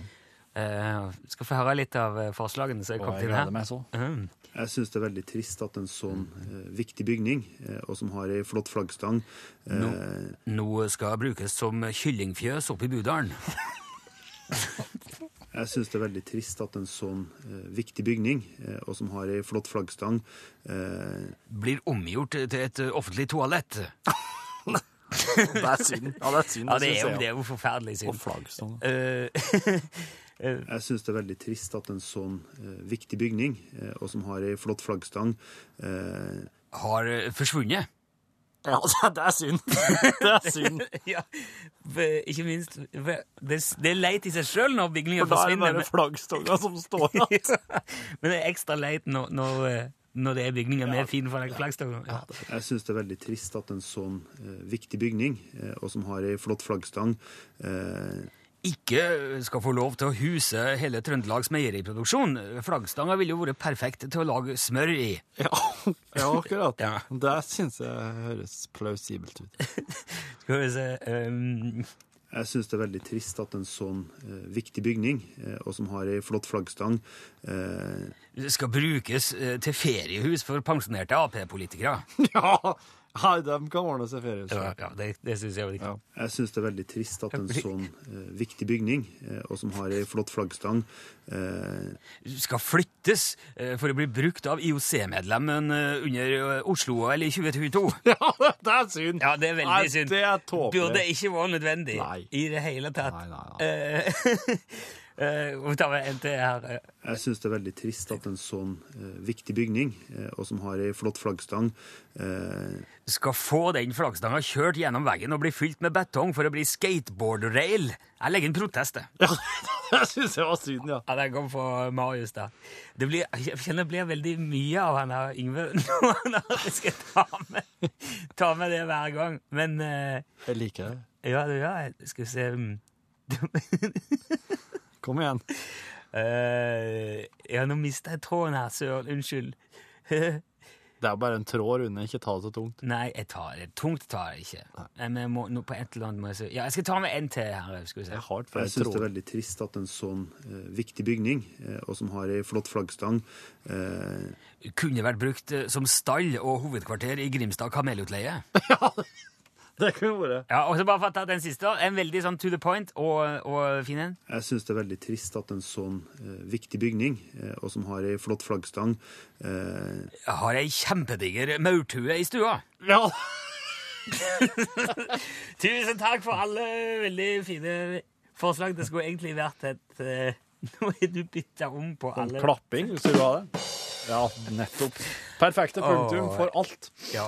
[SPEAKER 2] Eh, skal få høre litt av eh, forslagene som er
[SPEAKER 1] Og
[SPEAKER 2] kommet
[SPEAKER 1] jeg
[SPEAKER 2] inn her.
[SPEAKER 1] gleder meg så.
[SPEAKER 2] Mm.
[SPEAKER 7] Jeg syns det er veldig trist at en sånn eh, viktig bygning, eh, og som har ei flott flaggstang eh,
[SPEAKER 2] Noe skal brukes som kyllingfjøs oppe i Budalen.
[SPEAKER 7] Jeg syns det er veldig trist at en sånn eh, viktig bygning, eh, og som har ei flott flaggstang eh,
[SPEAKER 2] blir omgjort til et ø, offentlig toalett.
[SPEAKER 6] Det er synd. Ja, det er synd.
[SPEAKER 2] Ja, det er jo,
[SPEAKER 6] synes
[SPEAKER 2] det
[SPEAKER 6] jeg.
[SPEAKER 2] er jo forferdelig synd.
[SPEAKER 1] Og flaggstang.
[SPEAKER 2] Eh,
[SPEAKER 7] Jeg syns det er veldig trist at en sånn eh, viktig bygning, eh, og som har ei flott flaggstang eh,
[SPEAKER 2] har ø, forsvunnet.
[SPEAKER 6] Ja, altså, det- det er synd. Det er synd.
[SPEAKER 2] ja, v- ikke minst v- Det, s- det er leit i seg sjøl når bygninger
[SPEAKER 6] For da er det
[SPEAKER 2] forsvinner,
[SPEAKER 6] bare flaggstanga som står igjen.
[SPEAKER 2] men, men det er ekstra leit når, når, ø, når det er bygninger med fin flagg- flaggstang. Ja.
[SPEAKER 7] Jeg syns det er veldig trist at en sånn eh, viktig bygning, eh, og som har ei flott flaggstang eh,
[SPEAKER 2] Ikke skal få lov til å huse hele Trøndelags meieriproduksjon. Flaggstanga ville jo vært perfekt til å lage smør i.
[SPEAKER 6] Ja, ja akkurat.
[SPEAKER 2] Ja.
[SPEAKER 6] Det syns jeg høres plausibelt ut.
[SPEAKER 2] Skal vi se ehm, ø,
[SPEAKER 7] Jeg syns det er veldig trist at en sånn eh, viktig bygning, eh, og som har ei flott flaggstang eh,
[SPEAKER 2] Det skal brukes ø, til feriehus for pensjonerte Ap-politikere.
[SPEAKER 6] Ja, Hei, dem kan ordne seg feriehus.
[SPEAKER 2] Ja, ja, det, det syns jeg var riktig.
[SPEAKER 6] Ja.
[SPEAKER 7] Jeg syns det er veldig trist at en sånn eh, viktig bygning, eh, og som har ei flott flaggstang eh,
[SPEAKER 2] Skal flyttes eh, for å bli brukt av IOC-medlemmen eh, under eh, Oslo-OL i 2022.
[SPEAKER 6] Ja, det er synd.
[SPEAKER 2] Ja, det er veldig
[SPEAKER 6] Nei,
[SPEAKER 2] synd.
[SPEAKER 6] Det er tåpelig.
[SPEAKER 2] Burde ikke vært nødvendig
[SPEAKER 6] Nei.
[SPEAKER 2] i det hele tatt.
[SPEAKER 6] Nei, nei, nei.
[SPEAKER 2] Eh, eh, og tar vi en til her.
[SPEAKER 7] Jeg syns det er veldig trist at en sånn eh, viktig bygning, eh, og som har ei flott flaggstang eh,
[SPEAKER 2] Skal få den flaggstanga kjørt gjennom veggen og bli fylt med betong for å bli skateboard-rail. Jeg legger inn protest, det.
[SPEAKER 6] Ja, det syns jeg var synd, ja.
[SPEAKER 2] Ja, den kom fra Marius, da. Det blir, jeg kjenner det blir veldig mye av han her Yngve nå når vi skal ta med, ta med det hver gang. Men eh,
[SPEAKER 6] Jeg liker det.
[SPEAKER 2] Ja, du, ja, jeg- skal vi se mm.
[SPEAKER 6] Kom igjen.
[SPEAKER 2] Eh, Ja, nå mista jeg tråden her, søren. Unnskyld.
[SPEAKER 6] Det er bare en tråd runde, ikke ta det så tungt.
[SPEAKER 2] Nei, jeg tar det. Tungt tar jeg ikke. Nei, Men jeg må, nå på et eller annet må jeg se. Ja, jeg skal ta med en til her. skal vi se.
[SPEAKER 6] Jeg har et
[SPEAKER 7] Jeg
[SPEAKER 6] flere
[SPEAKER 7] syns det er
[SPEAKER 6] tråder.
[SPEAKER 7] veldig trist at en sånn eh, viktig bygning, eh, og som har ei flott flaggstang eh,
[SPEAKER 2] Kunne vært brukt eh, som stall og hovedkvarter i Grimstad kamelutleie.
[SPEAKER 6] Det kunne vært.
[SPEAKER 2] Ja, og så bare for å ta den siste. da. En veldig sånn to the point og, og fin en.
[SPEAKER 7] Jeg syns det er veldig trist at en sånn eh, viktig bygning, eh, og som har ei flott flaggstang eh,
[SPEAKER 2] Jeg har ei kjempediger maurtue i stua.
[SPEAKER 6] Ja,
[SPEAKER 2] Tusen takk for alle veldig fine forslag. Det skulle egentlig vært et eh, Nå er du bytta om på
[SPEAKER 1] Sånn
[SPEAKER 2] alle
[SPEAKER 1] Klapping, hvis du vil ha det. Ja, nettopp. Perfekte punktum for alt.
[SPEAKER 2] Ja.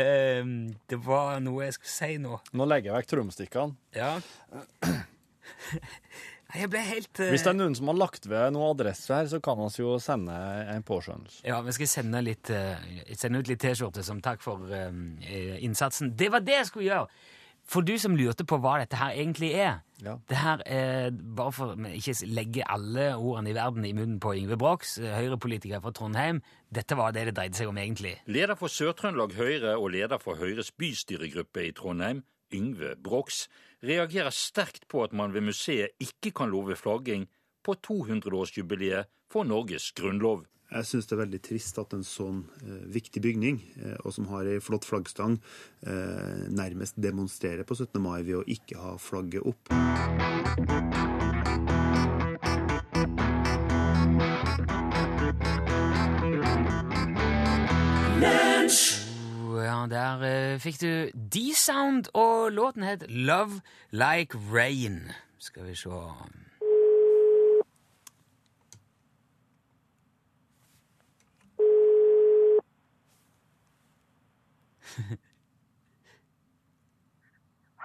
[SPEAKER 2] Ehm, det var noe jeg skulle si nå.
[SPEAKER 1] Nå legger jeg vekk trommestikkene.
[SPEAKER 2] Ja. Nei, Jeg ble helt eh,
[SPEAKER 1] Hvis det er noen som har lagt ved noen adresse her, så kan vi jo sende en påskjønnelse.
[SPEAKER 2] Ja, vi skal sende, litt, eh, sende ut litt T-skjorte som takk for eh, innsatsen. Det var det jeg skulle gjøre! For du som lurte på hva dette her egentlig er Det her er bare for å ikke legge alle ordene i verden i munnen på Yngve Brox, eh, Høyre-politiker fra Trondheim. Dette var det det dreide seg om egentlig.
[SPEAKER 5] Leder for Sør-Trøndelag Høyre og leder for Høyres bystyregruppe i Trondheim, Yngve Brox, reagerer sterkt på at man ved museet ikke kan love flagging på 200-årsjubileet for Norges grunnlov.
[SPEAKER 7] Jeg syns det er veldig trist at en sånn eh, viktig bygning, eh, og som har ei flott flaggstang, eh, nærmest demonstrerer på 17. mai ved å ikke ha flagget opp.
[SPEAKER 2] Oh, Ja, der eh, fikk du D-Sound, og låten het Love Like Rain. Skal vi se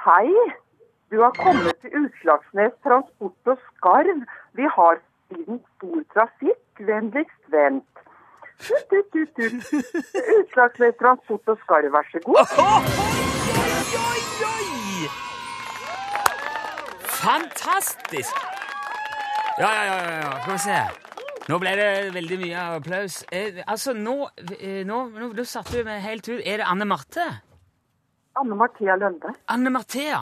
[SPEAKER 9] Hei, du har kommet til Utslagsnes Transport og Skarv. Vi har siden stor trafikk. Vennligst vent. Tut, tut, tut, tut. Utslagsnes Transport og Skarv, vær så god.
[SPEAKER 2] Fantastisk! Ja, ja, ja, ja, ja. Skal vi se. Nå ble det veldig mye applaus. Eh, altså, nå, eh, nå, nå, nå satte du meg helt ut. Er det Anne Marte?
[SPEAKER 9] Anne Marthea Lønde.
[SPEAKER 2] Anne Marthea!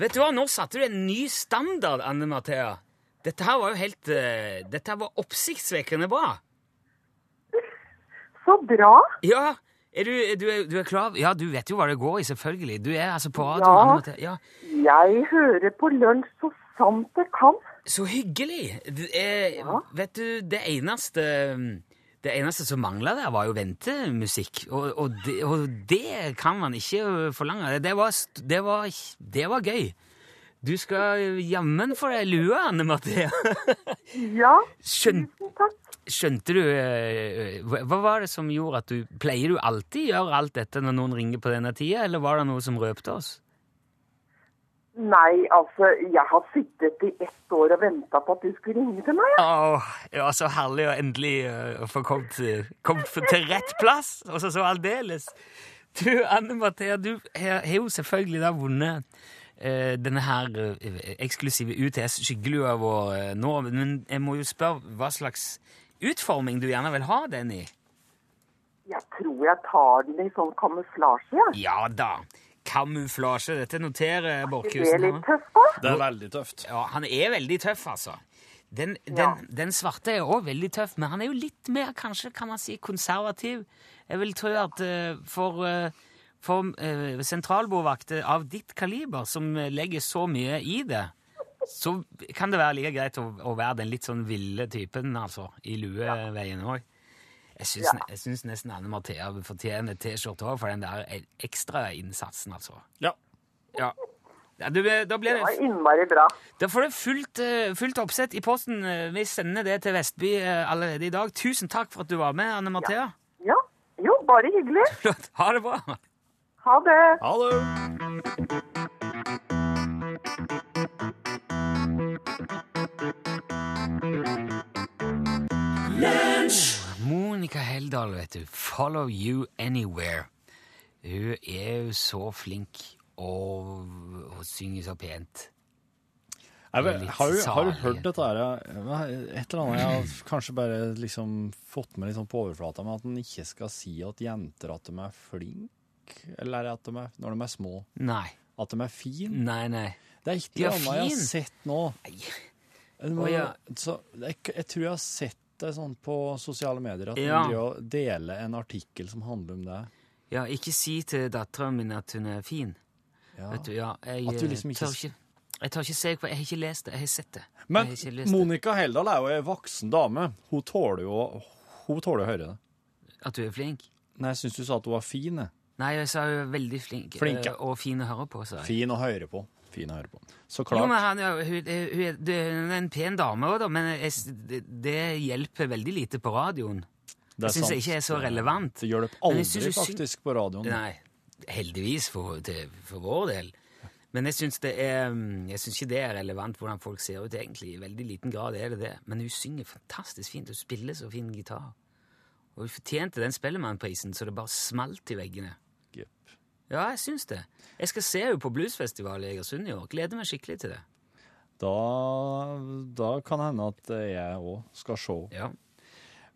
[SPEAKER 2] Vet du hva, nå satte du en ny standard, Anne Marthea. Dette her var jo helt eh, Dette her var oppsiktsvekkende bra.
[SPEAKER 9] Så bra.
[SPEAKER 2] Ja, er du, er du, er- du er klar? Ja, du vet jo hva det går i, selvfølgelig. Du er altså på
[SPEAKER 9] Ja.
[SPEAKER 2] radioen. Anne Marthea. ja.
[SPEAKER 9] Jeg hører på lunsj så sant jeg kan.
[SPEAKER 2] Så hyggelig! Det er, Vet du, det eneste det eneste som mangla der, var jo ventemusikk. Og, og, det, og det kan man ikke forlange. Det var, st- det var, det var gøy. Du skal jammen få deg lue, Anne Mathea.
[SPEAKER 9] Ja,
[SPEAKER 2] Skjøn,
[SPEAKER 9] tusen takk.
[SPEAKER 2] skjønte du eh, Hva hva var det som gjorde at du Pleier du alltid gjøre alt dette når noen ringer på denne tida, eller var det noe som røpte oss?
[SPEAKER 9] Nei, altså, jeg har sittet i ett år og venta på at du skulle ringe til meg.
[SPEAKER 2] Åh, det var så herlig å endelig eh, få kommet, eh, kommet for- til rett plass, og så så aldeles. Du, Anne Mathea, du har har jo selvfølgelig da vunnet eh, denne her eh, eksklusive UTS-skyggelua vår eh, nå, men jeg må jo spørre hva slags utforming du gjerne vil ha den i?
[SPEAKER 9] Jeg tror jeg tar den i sånn kamuflasje, jeg.
[SPEAKER 2] Ja da, kamuflasje, dette noterer
[SPEAKER 9] Det er
[SPEAKER 2] Borkhusen.
[SPEAKER 9] litt
[SPEAKER 2] her.
[SPEAKER 9] tøft, da.
[SPEAKER 1] Det er veldig tøft.
[SPEAKER 2] Ja, han er veldig tøff, altså. Den, den, den svarte er òg veldig tøff, men han er jo litt mer kanskje, kan man si, konservativ. Jeg vil tro at eh, for, eh, for eh, sentralbordvakter av ditt kaliber, som eh, legger så mye i det, så kan det være like greit å, å være den litt sånn ville typen, altså, i lueveien òg. Jeg syns, jeg syns nesten Anne Mathea fortjener T-skjorte òg for den der eh, ekstra innsatsen, altså.
[SPEAKER 1] Ja.
[SPEAKER 2] Ja. ja du, eh, da blir
[SPEAKER 9] Det
[SPEAKER 2] det
[SPEAKER 9] var innmari bra.
[SPEAKER 2] da får du fullt, eh, fullt oppsett i posten. Eh, Vi sender det til Vestby eh, allerede i dag. Tusen takk for at du var med, Anne Mathea.
[SPEAKER 9] Ja. Jo, bare hyggelig.
[SPEAKER 2] Flott. Ha det bra.
[SPEAKER 9] Ha det.
[SPEAKER 1] Ha det!
[SPEAKER 2] Monica Heldal, vet du. Follow you anywhere. Hun er jo så flink og, og synger så pent.
[SPEAKER 1] Jeg vet,
[SPEAKER 2] Det er litt
[SPEAKER 1] har, du, har du
[SPEAKER 2] salig.
[SPEAKER 1] hørt dette her? ja? Et eller annet jeg har kanskje bare liksom fått med litt sånn på overflata, men at en ikke skal si at jenter at de er flinke, eller at de er, når de er små,
[SPEAKER 2] Nei.
[SPEAKER 1] at de er fine.
[SPEAKER 2] Nei, nei.
[SPEAKER 1] Det er et
[SPEAKER 2] Ja,
[SPEAKER 1] eller annet jeg har
[SPEAKER 2] fin.
[SPEAKER 1] sett nå. En må,
[SPEAKER 2] Å, ja.
[SPEAKER 1] så, jeg, jeg tror jeg har sett det sånn på sosiale medier, at
[SPEAKER 2] Ja.
[SPEAKER 1] man driver og deler en artikkel som handler om det.
[SPEAKER 2] Ja, ikke si til dattera mi at hun er fin.
[SPEAKER 1] Ja.
[SPEAKER 2] Vet du, ja, jeg,
[SPEAKER 1] At du
[SPEAKER 2] eh,
[SPEAKER 1] liksom ikke
[SPEAKER 2] tør
[SPEAKER 1] s-
[SPEAKER 2] ikke Jeg tør ikke se på Jeg har ikke lest det. Jeg har sett det.
[SPEAKER 1] Men
[SPEAKER 2] jeg har ikke lest det.
[SPEAKER 1] Monica Heldal er jo ei voksen dame. Hun tåler jo å- hun tåler å høre det.
[SPEAKER 2] At du er flink?
[SPEAKER 1] Nei, jeg syns du sa at hun var fin. jeg.
[SPEAKER 2] Nei, jeg sa hun er veldig flink.
[SPEAKER 1] Flink, ja.
[SPEAKER 2] eh, Og fin å høre på, sa jeg.
[SPEAKER 1] Fin å høre på. Fin å høre på. Så
[SPEAKER 2] Jo,
[SPEAKER 1] klart.
[SPEAKER 2] men han, er- hun, hun, er- det er- hun er en pen dame òg, da, men jeg, s- det, det hjelper veldig lite på radioen.
[SPEAKER 1] det
[SPEAKER 2] jeg synes
[SPEAKER 1] sant.
[SPEAKER 2] det ikke er så relevant.
[SPEAKER 1] Det hjelper
[SPEAKER 2] Men jeg
[SPEAKER 1] aldri sånn.
[SPEAKER 2] synes du syng-
[SPEAKER 1] faktisk på radioen.
[SPEAKER 2] Nei, heldigvis for, til, for vår del. Men jeg syns mm, ikke det er relevant hvordan folk ser ut, egentlig. I veldig liten grad er det det. Men hun synger fantastisk fint. Hun spiller så fin gitar. Og hun fortjente den Spellemannprisen så det bare smalt i veggene.
[SPEAKER 1] Jepp.
[SPEAKER 2] Ja, jeg syns det. Jeg skal se henne på bluesfestival i Egersund i år. Gleder meg skikkelig til det.
[SPEAKER 1] Da, da kan det hende at jeg òg skal se,
[SPEAKER 2] Ja.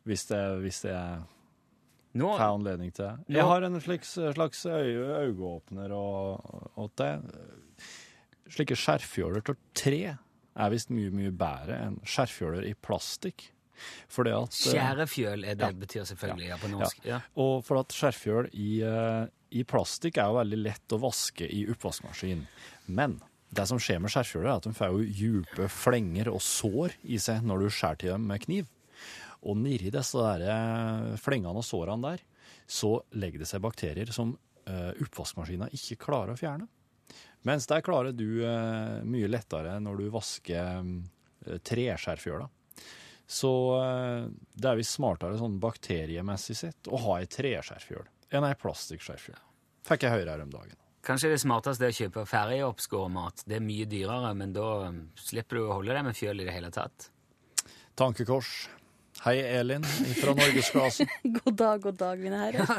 [SPEAKER 1] hvis det, hvis det er
[SPEAKER 2] Nå,
[SPEAKER 1] får anledning til det.
[SPEAKER 2] Ja.
[SPEAKER 1] Jeg har en slags, slags øye, øyeåpner og, og det. Slike skjerfjåler til tre er visst mye, mye bedre enn skjerfjåler i plastikk. For det at, eh,
[SPEAKER 2] skjærefjøl er det betyr selvfølgelig eh, ja, på norsk. Ja.
[SPEAKER 1] og for at skjerfjøl i, eh, i plastikk er jo veldig lett å vaske i oppvaskmaskin. Men det som skjer med skjerfjøler, er at de får jo djupe flenger og sår i seg når du skjærer til dem med kniv. Og nedi disse der eh, flengene og sårene der, så legger det seg bakterier som uh, oppvaskmaskina ikke klarer å fjerne. Mens der klarer du eh, mye lettere når du vasker uh, treskjerfjøla. Så eh, det er visst smartere sånn bakteriemessig sett å ha ei treskjerfjøl enn ei plastikkskjerfjøl. Fikk jeg høre her om dagen.
[SPEAKER 2] Kanskje det smarteste er å kjøpe ferjeoppskåret mat. Det er mye dyrere, men da um, slipper du å holde deg med fjøl i det hele tatt.
[SPEAKER 1] Tankekors. Hei, Elin fra Norgesklassen.
[SPEAKER 10] God dag, god dag, mine herrer.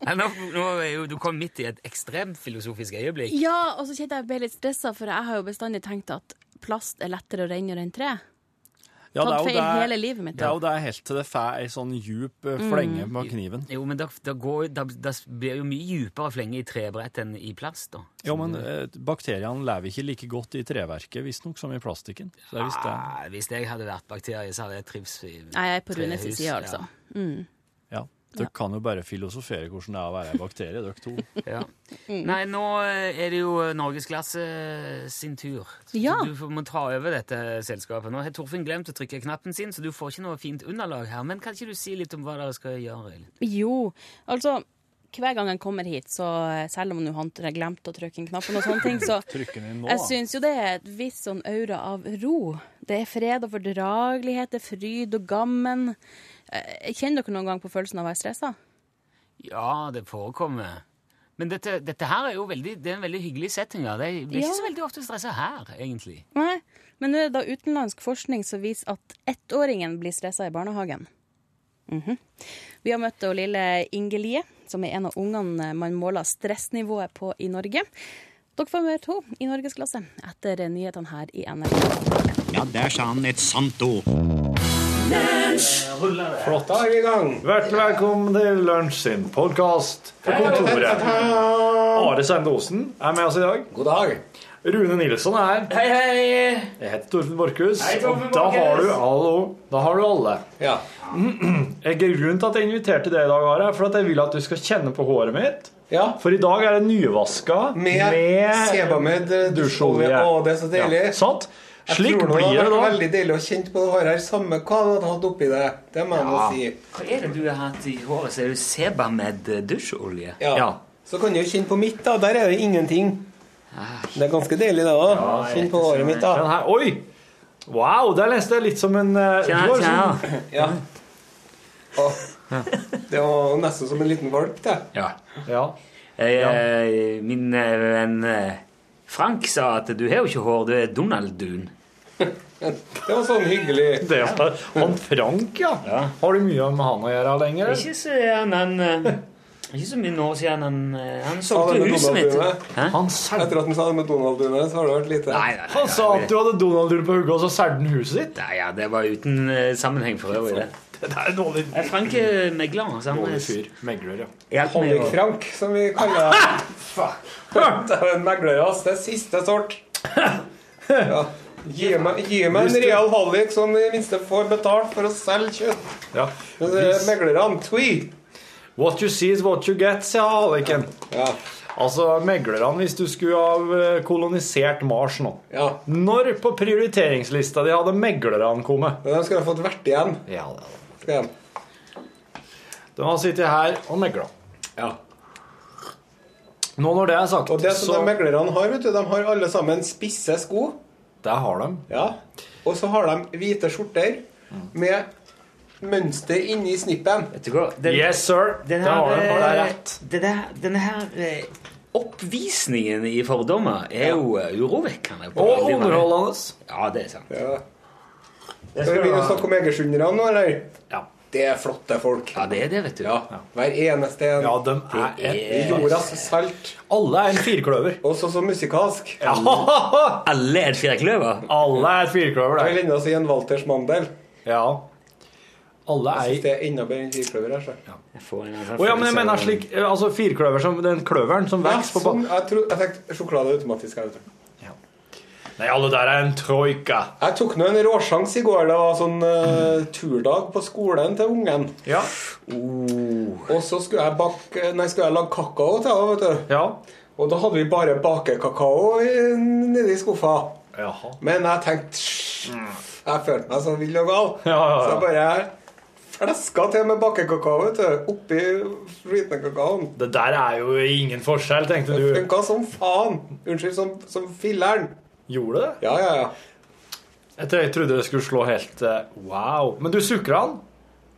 [SPEAKER 2] Nei, nå, nå er jo, du kom midt i et ekstremt filosofisk øyeblikk.
[SPEAKER 10] Ja, og så kjente jeg jeg ble litt stressa, for jeg har jo bestandig tenkt at plast er lettere å rengjøre enn tre.
[SPEAKER 1] Ja,
[SPEAKER 10] Tatt
[SPEAKER 1] det er jo
[SPEAKER 10] feil
[SPEAKER 1] det-
[SPEAKER 10] hele livet mitt, Mm.
[SPEAKER 1] Det er jo det helt til det får ei sånn djup eh, flenge med kniven.
[SPEAKER 2] Jo, men da, da, går, da, da blir jo mye djupere flenge i trebrett enn i plast, da.
[SPEAKER 1] Jo, men
[SPEAKER 10] sånn,
[SPEAKER 1] eh, bakteriene lever ikke like godt i treverket, visstnok, som i plastikken. Så det er visst det.
[SPEAKER 2] Nei, hvis jeg hadde vært bakterie, så hadde jeg trivs i
[SPEAKER 10] Nei, jeg er på Runes
[SPEAKER 2] trehus,
[SPEAKER 10] side, altså. Mm.
[SPEAKER 1] Ja. Dere kan jo bare filosofere hvordan det er å være ei bakterie, dere to.
[SPEAKER 2] Ja.
[SPEAKER 10] Mm.
[SPEAKER 2] Nei, nå eh, er det jo norgesklasse sin tur. Så
[SPEAKER 10] Ja.
[SPEAKER 2] Du får- må ta over dette selskapet. Nå har Torfinn glemt å trykke knappen sin, så du får ikke noe fint underlag her. Men kan ikke du si litt om hva dere skal gjøre? Elin?
[SPEAKER 10] Jo, altså hver gang jeg kommer hit, så eh, selv om nå han har glemt å trykke inn knappen og sånne ting, så
[SPEAKER 1] Trykk den inn nå.
[SPEAKER 10] jeg syns jo det er et visst sånn aura av ro. Det er fred og fordragelighet, det er fryd og gammen. Eh, Kjenner dere noen gang på følelsen av å være stressa?
[SPEAKER 2] Ja, det forekommer. Men dette, dette her er jo veldig, det er en veldig hyggelig setting. Ja. Det blir
[SPEAKER 10] Ja.
[SPEAKER 2] ikke så veldig ofte stressa her, egentlig.
[SPEAKER 10] Nei. Men nå er det da utenlandsk forskning som viser at ettåringen blir stressa i barnehagen. Mhm. Vi har møtt hun lille Ingelie, som er en av ungene man måler stressnivået på i Norge. Dere får møte henne i norgesklasse etter nyhetene her i NRK.
[SPEAKER 11] Ja, der sa han et sant ord.
[SPEAKER 12] Flott. Da er vi i gang. Hjertelig velkommen til Lunsj sin podkast på kontoret. Are Sendosen er med oss i dag. God dag. Rune Nilsson er her. Hei, hei. Jeg heter Torfinn Borchhus.
[SPEAKER 13] Hei, Torfinn
[SPEAKER 12] og Da har
[SPEAKER 13] Borchhus.
[SPEAKER 12] du Hallo. Da har du alle.
[SPEAKER 13] Ja.
[SPEAKER 12] Jeg er grunnen til at jeg inviterte deg i dag, Are, er for at jeg vil at du skal kjenne på håret mitt. For i dag er det nyvaska
[SPEAKER 13] Med Sebamed, eh,
[SPEAKER 12] dusjolje.
[SPEAKER 13] Å, det er så deilig.
[SPEAKER 12] Ja, sant?
[SPEAKER 13] Jeg
[SPEAKER 12] Slik
[SPEAKER 13] tror nå
[SPEAKER 12] blir
[SPEAKER 13] det
[SPEAKER 12] det
[SPEAKER 13] vært
[SPEAKER 12] da.
[SPEAKER 13] veldig deilig å kjenne på det håret her, samme hva du hadde hatt oppi det. Det må jeg nå si.
[SPEAKER 2] Hva er det du har hatt i håret? Så er det Sebamed dusjolje?
[SPEAKER 13] Ja. Så kan du jo kjenne på mitt, da. Der er det ingenting. Det er ganske deilig, det òg. Kjenn på håret mitt,
[SPEAKER 12] Den
[SPEAKER 13] da.
[SPEAKER 12] her, oi! Wow, der leste jeg litt som en eh,
[SPEAKER 13] Tja,
[SPEAKER 12] du var
[SPEAKER 13] tja.
[SPEAKER 12] liksom-
[SPEAKER 13] Ja. Å, Det var nesten som en liten valp, det.
[SPEAKER 2] Ja.
[SPEAKER 12] Ja.
[SPEAKER 2] Jeg, eh, Min eh, venn eh, Frank sa at du har jo ikke hår, du er Donald-dun.
[SPEAKER 13] Det var sånn hyggelig.
[SPEAKER 12] Det var han Frank, ja. Har du mye med han å gjøre lenger?
[SPEAKER 2] Ikke så gjerne han eh, Ikke så mye år siden han, eh, han
[SPEAKER 13] Sa det
[SPEAKER 2] solgte
[SPEAKER 13] med
[SPEAKER 2] huset mitt.
[SPEAKER 13] Donald-duene. Etter at han sa det med Donald-duene, så har det vært lite.
[SPEAKER 12] Han sa at du hadde Donald-dull på hugget, og så solgte han huset ditt?
[SPEAKER 2] Nei, ja, det var uten eh, sammenheng for øvrig, det.
[SPEAKER 12] Det er dårlig
[SPEAKER 2] Eh, Frank er megler. så han-
[SPEAKER 12] Dårlig fyr. Megler, ja.
[SPEAKER 2] Hjelp meg å-
[SPEAKER 13] Frank, som vi kaller Faen. Det er en megler, ass. Det er siste sort. Ja. Gi meg, gi meg
[SPEAKER 12] Hvis
[SPEAKER 13] en
[SPEAKER 12] du-
[SPEAKER 13] real hallik, som i minste får betalt for å selge kjøtt.
[SPEAKER 12] ja.
[SPEAKER 13] Men eh, det er Meglerne, tvi!
[SPEAKER 12] What you see is what you get, sier halliken. Altså, meglerne, hvis du skulle ha eh, kolonisert Mars nå Når på prioriteringslista di hadde meglerne kommet?
[SPEAKER 13] De skulle ha fått vert igjen.
[SPEAKER 12] Ja, det
[SPEAKER 13] Skal jeg-
[SPEAKER 12] De har sittet her og megla.
[SPEAKER 13] Ja.
[SPEAKER 12] Nå når det er sagt,
[SPEAKER 13] Og det som
[SPEAKER 12] så
[SPEAKER 13] de meglerne har, vet du, de har alle sammen spisse sko.
[SPEAKER 12] Det har de.
[SPEAKER 13] Ja. Og så har de hvite skjorter med mønster inni snippen.
[SPEAKER 2] Vet du hva? Den-
[SPEAKER 12] yes, sir.
[SPEAKER 2] Den
[SPEAKER 13] Det
[SPEAKER 2] her,
[SPEAKER 13] har du,
[SPEAKER 2] eh,
[SPEAKER 13] har du
[SPEAKER 2] det der, denne her eh, Oppvisningen i fordommer er jo eh, urovekkende. på
[SPEAKER 13] Og
[SPEAKER 2] veldig mange-
[SPEAKER 13] underholdende.
[SPEAKER 2] Ja, det er sant.
[SPEAKER 13] Skal vi begynne å snakke om egersunderne nå, eller?
[SPEAKER 2] Ja.
[SPEAKER 13] Det er flotte folk.
[SPEAKER 2] Ja, det er det, vet du.
[SPEAKER 13] Hver eneste en. Ja, de
[SPEAKER 2] er-
[SPEAKER 13] jordas salt.
[SPEAKER 1] Alle er en firkløver.
[SPEAKER 13] Også så musikalsk.
[SPEAKER 2] Alle er et firkløver.
[SPEAKER 1] Alle er et firkløver,
[SPEAKER 13] Jeg vil ennå si en Walters Mandel.
[SPEAKER 1] Ja. Alle er
[SPEAKER 13] Jeg syns det er enda bedre enn firkløver. her, så.
[SPEAKER 1] Å ja, men jeg mener slik eh, Altså firkløver som Den kløveren som
[SPEAKER 13] Ja,
[SPEAKER 1] vokser på
[SPEAKER 13] sånn, jeg, tror, jeg tenkte sjokolade automatisk. Jeg, vet du.
[SPEAKER 1] ba- Nei, alle der er en troika.
[SPEAKER 13] jeg tok nå en råsjans i går. Det var sånn eh, turdag på skolen til ungen.
[SPEAKER 1] Ja.
[SPEAKER 13] Og så skulle jeg, bak, nei, skulle jeg lage kakao til henne, vet du. Og da hadde vi bare bakekakao i- nedi skuffa.
[SPEAKER 1] Jaha.
[SPEAKER 13] Men jeg tenkte «Sj, Jeg følte meg så vill og gal.
[SPEAKER 1] Mm. ja, ja.
[SPEAKER 13] Så jeg bare fleska til med bakekakao vet du, oppi flytende kakaoen.
[SPEAKER 1] Det der er jo ingen forskjell, tenkte
[SPEAKER 13] Det
[SPEAKER 1] du.
[SPEAKER 13] funka som faen. Unnskyld, som, som filleren.
[SPEAKER 1] Gjorde det?
[SPEAKER 13] Ja, ja, ja.
[SPEAKER 1] Jeg tror- jeg trodde det skulle slå helt eh, wow. Men du sukra den?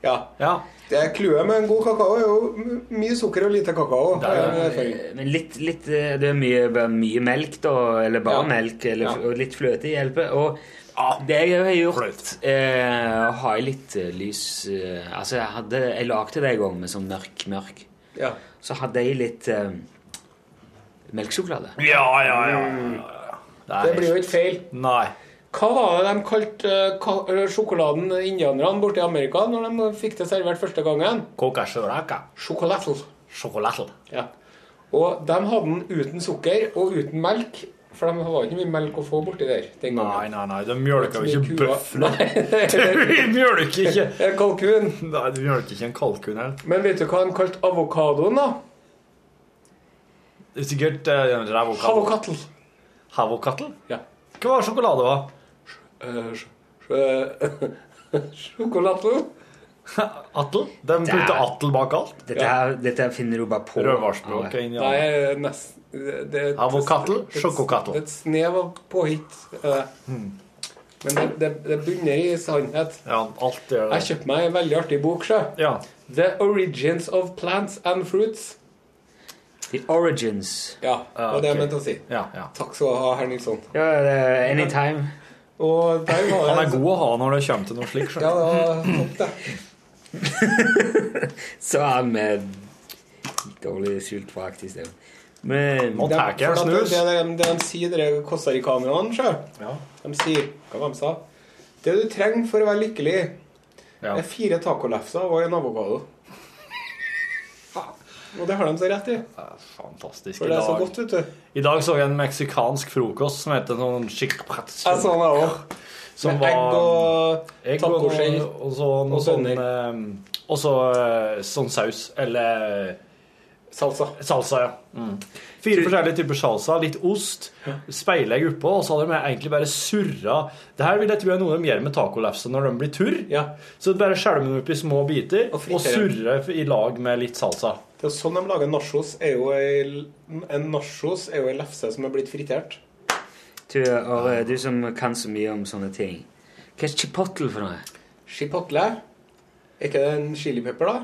[SPEAKER 13] Ja. Det er clouet med en god kakao. er jo m- Mye sukker og lite kakao. Det er en erfaring.
[SPEAKER 2] Men litt, litt eh, Det er mye, bare mye melk, da, eller bare melk, eller, og litt fløte hjelper. Og
[SPEAKER 13] Ah.
[SPEAKER 2] det jeg har gjort eh, Har jeg litt eh, lys eh, Altså, jeg hadde Jeg lagde det en gang med sånn mørk, mørk.
[SPEAKER 13] Ja.
[SPEAKER 2] Så hadde jeg litt eh, melkesjokolade.
[SPEAKER 1] Ja, ja, ja.
[SPEAKER 13] Mm. Det blir jo ikke feil.
[SPEAKER 1] Nei.
[SPEAKER 13] Hva var det de kalte eh, ka- eh, sjokoladen indianerne borte i Amerika når de fikk det servert første gangen? Sjokolatl. Ja. Og de hadde den uten sukker og uten melk, for de hadde ikke mye melk å få borti der den
[SPEAKER 1] Nei,
[SPEAKER 13] gangen.
[SPEAKER 1] nei, nei, de mjølker jo ikke
[SPEAKER 13] Kua-
[SPEAKER 1] bøfler.
[SPEAKER 13] Nei,
[SPEAKER 1] Vi mjølker ikke
[SPEAKER 13] En kalkun.
[SPEAKER 1] Nei, du mjølker ikke en kalkun heller.
[SPEAKER 13] Men vet du hva de kalte avokadoen, da?
[SPEAKER 1] Det er Sikkert uh,
[SPEAKER 13] Havokattel.
[SPEAKER 1] Havokattel?
[SPEAKER 13] Ja.
[SPEAKER 1] Hva var sjokolade, hva?
[SPEAKER 13] Sjokolatl.
[SPEAKER 1] Attel? De
[SPEAKER 2] Det er-
[SPEAKER 1] putter attel bak alt?
[SPEAKER 2] Dette, her, dette her finner du bare på.
[SPEAKER 1] Rødvarspråket inn i
[SPEAKER 13] Nei, eh, nesten det- det-
[SPEAKER 1] Avokattel,
[SPEAKER 13] det-
[SPEAKER 1] sjokokattel.
[SPEAKER 13] Et snev av påhitt. eh, Men det, det, det bunner i sannhet.
[SPEAKER 1] Ja, alt gjør det.
[SPEAKER 13] Jeg kjøpte meg en veldig artig bok. Sjø. The Origins of Plants and Fruits.
[SPEAKER 2] The Origins.
[SPEAKER 13] Ja, det var det jeg mente å si. Takk skal du ha, herr Nilsson.
[SPEAKER 2] Ja, anytime.
[SPEAKER 13] Og der var det
[SPEAKER 1] Han er god å ha når det kommer til noe slikt.
[SPEAKER 13] Ja, det var topp, det.
[SPEAKER 2] Så er han med dårlig sult faktisk. det. Men
[SPEAKER 13] Det er- for at Det, det, de- det de sier, det er costaricanerne, sjø. De sier Hva var det de sa? Det du trenger for å være lykkelig, er fire tacolefser og en avokado. Og det har de så rett i.
[SPEAKER 1] Fantastisk.
[SPEAKER 13] For det er så godt, vet du.
[SPEAKER 1] I dag så jeg en meksikansk frokost som heter sånn chicprat.
[SPEAKER 13] Jeg så den òg.
[SPEAKER 1] Som
[SPEAKER 13] Med egg
[SPEAKER 1] var- egg og
[SPEAKER 13] tacoskjell
[SPEAKER 1] Og så noe
[SPEAKER 13] og
[SPEAKER 1] sånn eh, Og så eh, sånn saus. Eller eh,
[SPEAKER 13] Salsa.
[SPEAKER 1] Salsa, ja. Mm. Fire forskjellige typer salsa, litt ost, speilegg oppå, og så hadde de egentlig bare surra Det her vil jeg tro er noe de gjør med tacolefsa når de blir turr. Så bare skjelver de opp i små biter og, surrer i lag med litt salsa.
[SPEAKER 13] Det er sånn de lager nachos. Er jo ei, en nachos er jo ei lefse som er blitt fritert.
[SPEAKER 2] Du, Are, eh, du som kan så mye om sånne ting. Hva er chipotle for noe?
[SPEAKER 13] Chipotle? Er ikke det en chilipepper, da?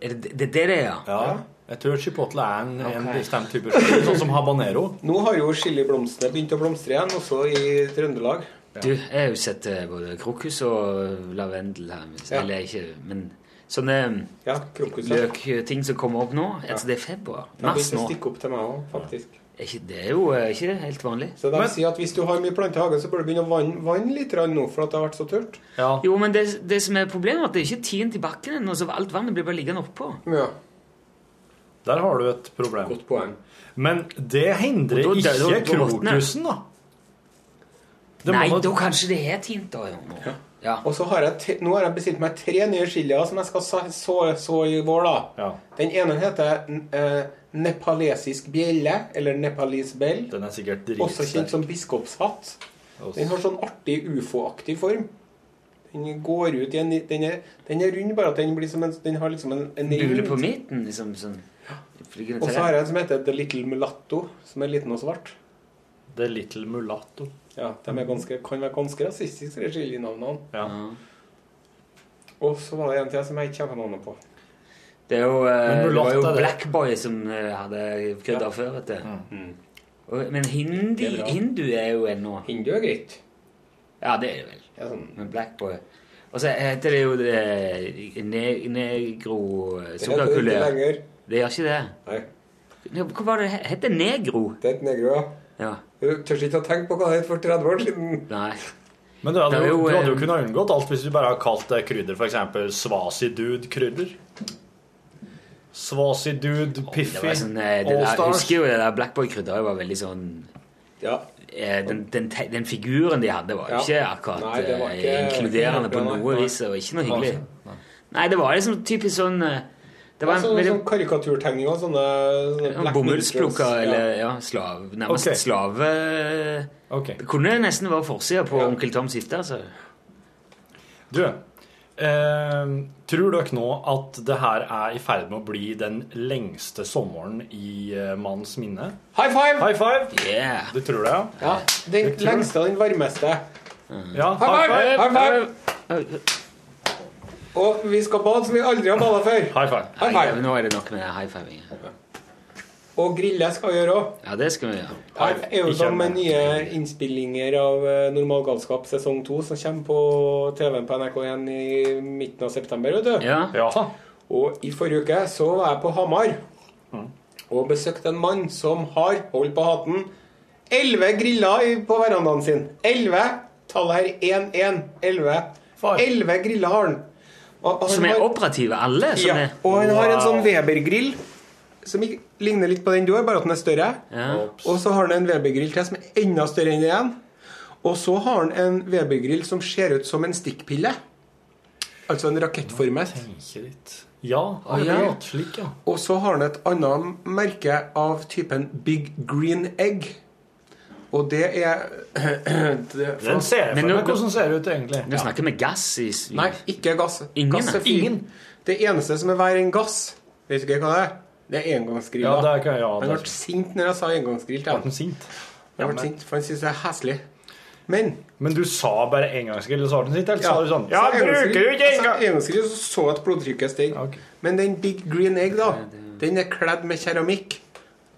[SPEAKER 2] Er det det, det, er det ja?
[SPEAKER 13] Ja.
[SPEAKER 1] Jeg tror chipotle er en, en
[SPEAKER 13] Ok.
[SPEAKER 1] bestemt type chili, sånn som habanero.
[SPEAKER 13] Nå har jo chiliblomstene begynt å blomstre igjen, også i Trøndelag.
[SPEAKER 2] Du, jeg har jo sett eh, både krokus og eh, lavendel her. Men,
[SPEAKER 13] Ja.
[SPEAKER 2] Eller ikke, men sånne eh,
[SPEAKER 13] ja, krokus, ja.
[SPEAKER 2] løkting som kommer opp nå. Altså, det er februar.
[SPEAKER 13] De
[SPEAKER 2] Mars
[SPEAKER 13] begynte å
[SPEAKER 2] nå.
[SPEAKER 13] stikke opp til meg òg, faktisk.
[SPEAKER 2] Er ikke, det er jo eh, ikke det helt vanlig.
[SPEAKER 13] Så de sier at hvis du har mye planter i hagen, så bør du begynne å vanne, vanne litt grann nå, for at det har vært så tørt.
[SPEAKER 2] Jo, men det, det som er problemet, er at det er ikke tint i bakken ennå, så alt vannet blir bare liggende oppå.
[SPEAKER 1] Der har du et problem.
[SPEAKER 13] Godt poeng.
[SPEAKER 1] Men det hindrer
[SPEAKER 2] Og da- da-
[SPEAKER 1] ikke
[SPEAKER 2] da råtner det.
[SPEAKER 1] krokusen, da. Det må
[SPEAKER 2] Nei,
[SPEAKER 1] man-
[SPEAKER 2] da kanskje det er tint, da. Jo.
[SPEAKER 13] Og så har jeg te, nå har jeg bestilt meg tre nye chilier som jeg skal så, så, så i vår, da. Den ene heter eh, nepalesisk bjelle, eller nepalisbell.
[SPEAKER 1] Den er sikkert dritsterk.
[SPEAKER 13] Også kjent som biskopshatt. Den har sånn artig ufo-aktig form. Den går ut i en Den er, den er rund, bare at den blir som en Den har liksom en, en
[SPEAKER 2] Bule på
[SPEAKER 13] rund-
[SPEAKER 2] midten, liksom. sånn. Flyggende
[SPEAKER 13] Og så
[SPEAKER 2] tallerken.
[SPEAKER 13] har jeg en som heter The Little Mulatto, som er liten og svart.
[SPEAKER 1] The Little Mulatto.
[SPEAKER 13] Ja, de er ganske, kan være ganske rasistiske, de chilinavnene.
[SPEAKER 1] Ja.
[SPEAKER 13] Og så var det en til som jeg ikke kjenner navnet på.
[SPEAKER 2] Det, er jo, eh,
[SPEAKER 14] Men
[SPEAKER 2] det var
[SPEAKER 14] mulatt
[SPEAKER 2] jo
[SPEAKER 14] er det.
[SPEAKER 2] Blackboy som eh, hadde kødda før, vet du. Og- Men hindi,
[SPEAKER 4] Mm. Det er bra.
[SPEAKER 2] hindu er jo ennå
[SPEAKER 4] Hindu er sånn. greit.
[SPEAKER 2] Ja, det er det vel. Men Blackboy Og så heter det jo det, ne, negro eh,
[SPEAKER 4] Det heter
[SPEAKER 2] sukkerkulør.
[SPEAKER 4] det ikke lenger.
[SPEAKER 2] Det gjør ikke det? Nei. Hva var det? Het det negro?
[SPEAKER 4] Det heter negro, ja.
[SPEAKER 2] Ja.
[SPEAKER 4] Du tør ikke å tenke på hva det het for 30 år siden.
[SPEAKER 2] Nei.
[SPEAKER 1] Men du hadde,
[SPEAKER 4] Det er
[SPEAKER 1] jo,
[SPEAKER 4] jo,
[SPEAKER 1] du hadde jo
[SPEAKER 4] eh,
[SPEAKER 1] kunnet unngått alt hvis du bare hadde kalt det krydder, f.eks. Svasidude-krydder. Svasidude,
[SPEAKER 2] Det
[SPEAKER 1] Piffi,
[SPEAKER 2] var sånn, eh, det der, jeg
[SPEAKER 1] Allstars.
[SPEAKER 2] husker jo det der Blackboy-krydderet var veldig sånn eh, den, den, te- den figuren de hadde, var jo
[SPEAKER 4] Ja.
[SPEAKER 2] ikke akkurat
[SPEAKER 4] Nei, det var
[SPEAKER 2] eh,
[SPEAKER 4] ikke-
[SPEAKER 2] inkluderende på
[SPEAKER 4] Nei, nei.
[SPEAKER 2] noe vis. Og ikke noe
[SPEAKER 4] Nei.
[SPEAKER 2] hyggelig. Nei, det var liksom typisk sånn eh, Det var en
[SPEAKER 4] sånne,
[SPEAKER 2] veldig
[SPEAKER 4] sånne karikaturtegninger. Sånne, sånne
[SPEAKER 2] ja,
[SPEAKER 4] sånn- Black
[SPEAKER 2] bomullsplukker
[SPEAKER 4] Minstrels,
[SPEAKER 2] eller ja, slav, nærmest
[SPEAKER 4] Ok.
[SPEAKER 2] slave eh, Det kunne nesten vært forsida på Onkel Toms hytte. Altså.
[SPEAKER 1] Du, eh, tror dere nå at det her er i ferd med å bli den lengste sommeren i eh, manns minne?
[SPEAKER 4] High five!
[SPEAKER 1] High five!
[SPEAKER 2] Yeah.
[SPEAKER 1] Du tror det, ja?
[SPEAKER 4] Ja, Den
[SPEAKER 1] Jeg tror-
[SPEAKER 4] lengste og den varmeste.
[SPEAKER 1] Ja,
[SPEAKER 4] High
[SPEAKER 1] high
[SPEAKER 4] five!
[SPEAKER 1] five!
[SPEAKER 4] High five! Og vi skal bade som vi aldri har bada før.
[SPEAKER 1] High five.
[SPEAKER 4] High five.
[SPEAKER 2] Nei, nå er det nok med high fiving.
[SPEAKER 4] Og grille skal vi gjøre òg.
[SPEAKER 2] Ja, det skal vi gjøre.
[SPEAKER 4] Her er jo som med nye innspillinger av eh, Normal galskap sesong 2 som kommer på TV-en på NRK1 i midten av september, vet du.
[SPEAKER 2] Ja.
[SPEAKER 4] Sånn. Og i forrige uke så var jeg på Hamar Mm. og besøkte en mann som har, hold på hatten, 11 griller i- på verandaen sin. 11. Tallet her 1-1. 11. 11 griller har han. Og- og
[SPEAKER 2] Som
[SPEAKER 4] han
[SPEAKER 2] er
[SPEAKER 4] har-
[SPEAKER 2] operative, alle? Som
[SPEAKER 4] ja,
[SPEAKER 2] er,
[SPEAKER 4] og han har en sånn
[SPEAKER 2] Wow.
[SPEAKER 4] Weber-grill som ikke- ligner litt på den du har, bare at den er større. Og så har han en Weber-grill til som er enda større enn det igjen. Og så har han en
[SPEAKER 2] eh,
[SPEAKER 4] Weber-grill som ser ut som en stikkpille. Altså en rakettformet.
[SPEAKER 1] Ja,
[SPEAKER 4] Å, ja.
[SPEAKER 1] akkurat slik, ja.
[SPEAKER 4] Og så har han et annet merke av typen Big Green Egg. Og det er det-
[SPEAKER 1] Den ser jeg for
[SPEAKER 4] Men nå-
[SPEAKER 1] meg hvordan den ser ut, egentlig.
[SPEAKER 4] Ja.
[SPEAKER 2] snakker med gass i
[SPEAKER 4] Nei, ikke gass.
[SPEAKER 2] Ingen,
[SPEAKER 4] gass er
[SPEAKER 2] nei.
[SPEAKER 4] fint.
[SPEAKER 2] Ingen.
[SPEAKER 4] Det eneste som er hver en gass Vet du ikke hva det er? Det er engangsgrilla.
[SPEAKER 1] Ja, det er ikke- ja,
[SPEAKER 4] han
[SPEAKER 1] det er
[SPEAKER 4] ble sint når jeg sa engangsgrill til ham.
[SPEAKER 1] Ble han sint? Ja,
[SPEAKER 4] Han ble
[SPEAKER 1] men-
[SPEAKER 4] sint, for han synes det er heslig. Men
[SPEAKER 1] Men du sa bare engangsgrill i starten sitt, eller sa du sånn
[SPEAKER 4] så
[SPEAKER 1] Ja,
[SPEAKER 4] engangsgrill-
[SPEAKER 1] bruker du ikke
[SPEAKER 4] Jeg sa
[SPEAKER 1] engang
[SPEAKER 4] engangsgrill, så så jeg at blodtrykket steg. Men den Big Green Egg, da, den er kledd med keramikk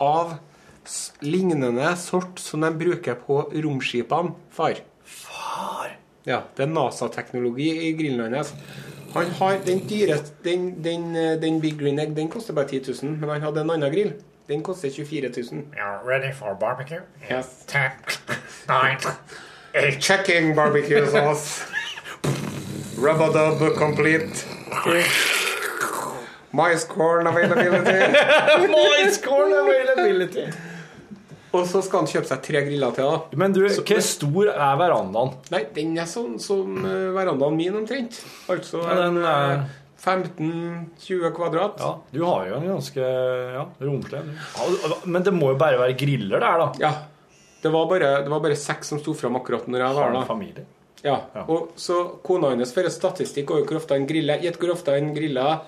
[SPEAKER 4] av s- lignende sort som de bruker på romskipene, far. Far? Ja, det er NASA-teknologi i grillen hans. Han har den dyreste den, den, eh, den Big Green Egg, den koster bare 10 000, men han hadde en annen grill. Den koster 24 000.
[SPEAKER 10] Ready for barbecue?
[SPEAKER 4] Yes.
[SPEAKER 10] Ten, nine,
[SPEAKER 4] A checking barbecue sauce. Rub-a-dub complete. Mice corn availability.
[SPEAKER 1] Mice corn availability.
[SPEAKER 4] Og så skal han kjøpe seg tre griller til, da.
[SPEAKER 1] Men du, hvor stor er verandaen?
[SPEAKER 4] Nei, den er sånn som eh, verandaen min omtrent. Altså
[SPEAKER 1] Ja, den er-
[SPEAKER 4] en, eh, 15-20 kvadrat.
[SPEAKER 1] Ja, du har jo en ganske ja, romslig en, du. Ja, Men det må jo bare være griller der, da.
[SPEAKER 4] Ja. Det var bare, det var bare seks som sto fram akkurat når jeg var
[SPEAKER 1] Har
[SPEAKER 4] der.
[SPEAKER 1] en familie.
[SPEAKER 4] Ja. Og så kona hennes fører statistikk over hvor ofte han griller. Gjett hvor ofte han griller.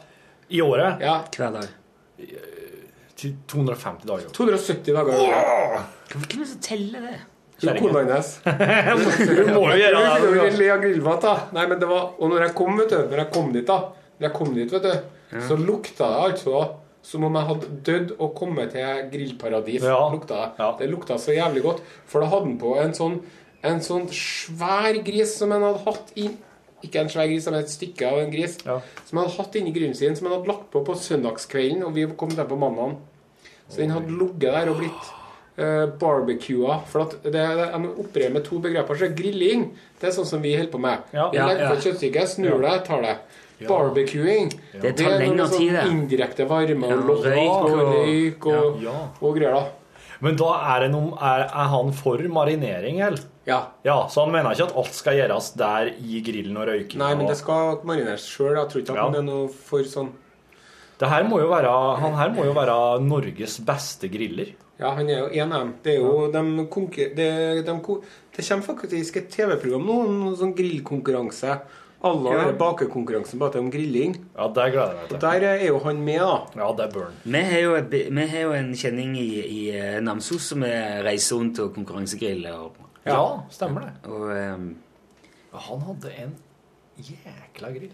[SPEAKER 1] I året?
[SPEAKER 4] Ja.
[SPEAKER 2] Hver dag.
[SPEAKER 1] Til 250 dager.
[SPEAKER 4] 270 dager.
[SPEAKER 2] Hvem er det som teller det?
[SPEAKER 4] Hun Kona hennes.
[SPEAKER 1] Hun må jo gjøre det.
[SPEAKER 4] Hun vil jo le av grillmat, da. Nei, men det var, og når jeg kom, vet du, når jeg kom dit, da, når jeg kom dit, vet du, så lukta det altså som om jeg hadde dødd og kommet til grillparadis. Lukta det. det lukta så jævlig godt. For da hadde han på en sånn, en sånn svær gris som han hadde hatt i ikke en svær gris, men et stykke av en gris. Som han hadde hatt inni grillen sin, som han hadde lagt på på søndagskvelden, og vi kom der på mandagen. Så den hadde ligget der og blitt uh, barbecua. For at det, det, jeg må operere med to begreper. Så grilling det er sånn som vi holder på med.
[SPEAKER 2] Ja.
[SPEAKER 4] Vi
[SPEAKER 2] Ja,
[SPEAKER 4] legger på
[SPEAKER 2] ja.
[SPEAKER 4] kjøttstykket, snur det, tar det.
[SPEAKER 2] Ja.
[SPEAKER 4] Barbecuing
[SPEAKER 2] Det tar
[SPEAKER 4] når
[SPEAKER 2] lengre
[SPEAKER 4] sånn
[SPEAKER 2] tid, det.
[SPEAKER 4] Indirekte varme
[SPEAKER 1] Ja,
[SPEAKER 4] og lokk
[SPEAKER 1] røyk
[SPEAKER 4] og
[SPEAKER 1] og-
[SPEAKER 4] røyk og,
[SPEAKER 1] Ja.
[SPEAKER 4] og greier. da
[SPEAKER 1] Men da er, det noen, er, er han for marinering, eller?
[SPEAKER 4] Ja.
[SPEAKER 1] Så han mener ikke at alt skal gjøres der i grillen og røyking?
[SPEAKER 4] Nei, men
[SPEAKER 1] og-
[SPEAKER 4] det skal marineres sjøl. Jeg tror ikke at
[SPEAKER 1] Ja.
[SPEAKER 4] det er noe for sånn
[SPEAKER 1] det her må jo være, Han her må jo være Norges beste griller.
[SPEAKER 4] Ja, han er jo en av dem. Det er jo de konkur... Det, de, ko- det kommer faktisk et TV-program nå, en sånn grillkonkurranse. Alle
[SPEAKER 1] Ja.
[SPEAKER 4] har bakekonkurransen bare til om grilling.
[SPEAKER 1] Ja, der gleder jeg
[SPEAKER 4] Og der er jo han med, da.
[SPEAKER 1] Ja, det er Burn.
[SPEAKER 2] Vi har jo, et bi- vi har jo en kjenning i, i eh, Namsos som er reiser rundt og konkurransegriller. Og,
[SPEAKER 1] Ja, stemmer det.
[SPEAKER 2] og ehm,
[SPEAKER 1] Han hadde en jækla grill.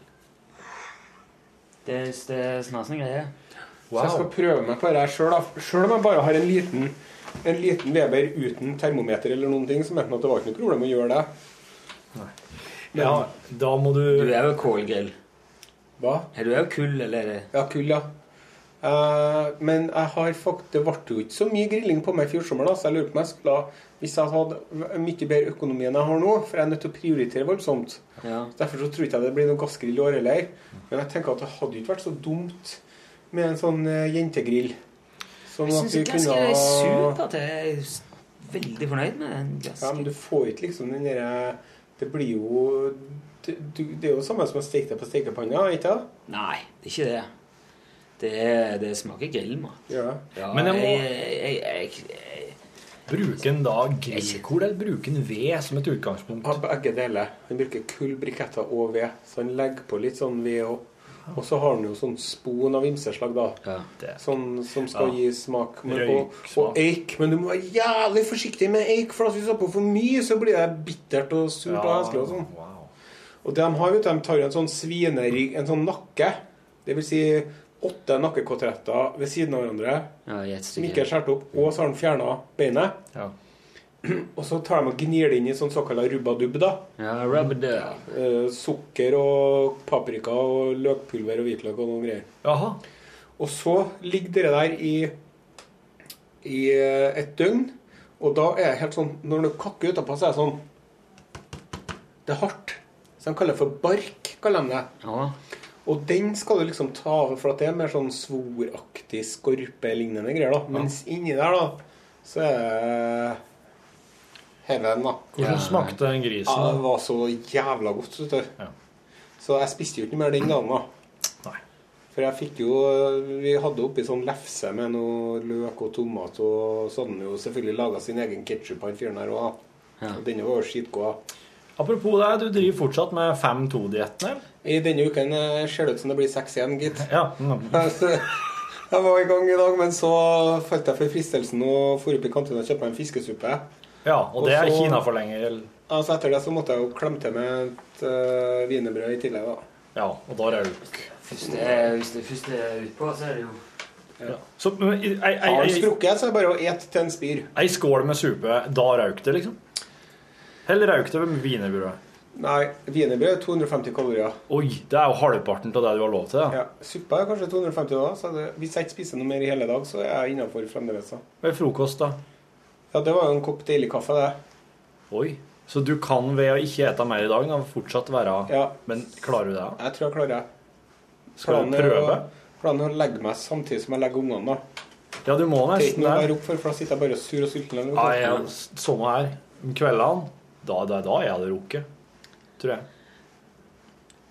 [SPEAKER 2] Det, det er snasen greie.
[SPEAKER 4] Så jeg skal prøve meg på det her sjøl. Sjøl om jeg bare har en liten, en liten lever uten termometer eller noen ting, så mente han at det var ikke noe problem å gjøre det. Men,
[SPEAKER 1] Ja, da må du
[SPEAKER 4] Du er jo kålgrill. Hva? Er du er jo kull, eller? Ja, kull, ja. Eh, men jeg har fakt det ble jo ikke så mye grilling på meg i fjor sommer. Da, så jeg lurer på om jeg skulle ha- Hvis jeg hadde v- mye bedre økonomi enn jeg har nå, for jeg er nødt til å prioritere voldsomt
[SPEAKER 2] Ja.
[SPEAKER 4] Så Derfor så tror ikke jeg det blir noe gassgrill i år heller. Men jeg tenker at det hadde jo ikke vært så dumt med en sånn eh, jentegrill. Sånn
[SPEAKER 2] Jeg
[SPEAKER 4] at
[SPEAKER 2] syns
[SPEAKER 4] vi
[SPEAKER 2] glass
[SPEAKER 4] kunne
[SPEAKER 2] er
[SPEAKER 4] ha-
[SPEAKER 2] supert. Jeg er s- veldig fornøyd med den. glass.
[SPEAKER 4] Ja, men du får ikke liksom den derre Det blir jo det, du- det er jo det samme som å steke det på stekepanna, ikke sant?
[SPEAKER 2] Nei, det er ikke det. Det, er- det smaker grillmat.
[SPEAKER 4] Ja.
[SPEAKER 2] Ja,
[SPEAKER 1] Men jeg må-
[SPEAKER 2] jeg, jeg, jeg,
[SPEAKER 1] bruke en da grillkål eller bruke en ved som et utgangspunkt.
[SPEAKER 4] Har begge deler. Han bruker kull, briketter og ved. Så han legger på litt sånn ved og Og så har han jo sånn spon av ymseslag, da. Sånn som skal
[SPEAKER 1] Ja.
[SPEAKER 4] gi smak. Men, og,
[SPEAKER 1] Røyksmak.
[SPEAKER 4] og eik. Men du må være jævlig forsiktig med eik, for hvis du har på for mye, så blir det bittert og surt og
[SPEAKER 1] Ja,
[SPEAKER 4] heslig og sånn. Og de har, vet du, de tar jo en sånn svinerygg, en sånn nakke. Det vil si åtte nakkekoteletter ved siden av hverandre
[SPEAKER 2] ja, i ett
[SPEAKER 4] som
[SPEAKER 2] stykke.
[SPEAKER 4] ikke er skåret opp, og så har de fjerna beinet. Og så tar de og gnir det inn i sånn såkalla rubbadubb, da.
[SPEAKER 2] Ja, rubbadubb.
[SPEAKER 4] Eh, sukker og paprika og løkpulver og hvitløk og noen greier. Og så ligger dere der i, i eh, et døgn, og da er det helt sånn Når du kakker utapå, så er det sånn Det er hardt. Så de kaller det for bark, kaller de det. Og den skal du liksom ta av, for at det er mer sånn svoraktig, skorpelignende greier. da. Mens inni der, da, så er det heaven, da.
[SPEAKER 1] Hvordan smakte den grisen?
[SPEAKER 4] Ja, det var så jævla godt, vet du. Så jeg spiste jo ikke noe mer den dagen, da. For jeg fikk jo Vi hadde oppi sånn lefse med noe løk og tomat, og så hadde han jo selvfølgelig laga sin egen ketsjup, han fyren her òg. Og denne var jo skitgod.
[SPEAKER 1] Apropos deg, du driver fortsatt med 5-2-dietten, eller?
[SPEAKER 4] I denne uken eh, ser det ut som det blir seks igjen, gitt.
[SPEAKER 1] Ja. mm.
[SPEAKER 4] Så Altså, jeg var i gang i dag, men så falt jeg for fristelsen og dro opp i kantina og kjøpte meg en fiskesuppe.
[SPEAKER 1] Ja, og det er
[SPEAKER 4] Og så-
[SPEAKER 1] ikke innafor lenger. eller?
[SPEAKER 4] Altså Etter det så måtte jeg jo klemme til med et eh, wienerbrød i tillegg, da.
[SPEAKER 1] Ja, og da røyk.
[SPEAKER 2] Hvis det er- Hvis det først er utpå, så er det jo
[SPEAKER 1] Ja. Så, men, ei, ei, ei,
[SPEAKER 4] Har du
[SPEAKER 1] ei,
[SPEAKER 4] sprukket, så er det bare å ete til en spyr.
[SPEAKER 1] ei skål med supe, da røyk det, liksom? Eller røyk det med wienerbrød?
[SPEAKER 4] Nei, wienerbrød er 250 kalorier.
[SPEAKER 1] Oi, det er jo halvparten av det du har lov til.
[SPEAKER 4] Ja, Suppa er kanskje 250 da, så det, hvis jeg ikke spiser noe mer i hele dag, så er jeg innafor fremdeles. da.
[SPEAKER 1] Med frokost, da?
[SPEAKER 4] Ja, det var jo en kopp deilig kaffe, det.
[SPEAKER 1] Oi. Så du kan ved å ikke ete mer i dag, da fortsatt være
[SPEAKER 4] Ja.
[SPEAKER 1] Men klarer du det?
[SPEAKER 4] Jeg tror jeg klarer det.
[SPEAKER 1] Skal du
[SPEAKER 4] Planen er å-
[SPEAKER 1] prøve?
[SPEAKER 4] Planen er å legge meg samtidig som jeg legger ungene, da.
[SPEAKER 1] Ja, du må
[SPEAKER 4] Det er ikke
[SPEAKER 1] nesten
[SPEAKER 4] noe å
[SPEAKER 1] det.
[SPEAKER 4] være opp for, for da sitter jeg bare sur og sulten. eller noe.
[SPEAKER 1] Nei, ja, Samme her. Om kveldene, da, da, da er jeg hadde rukket. Tror jeg.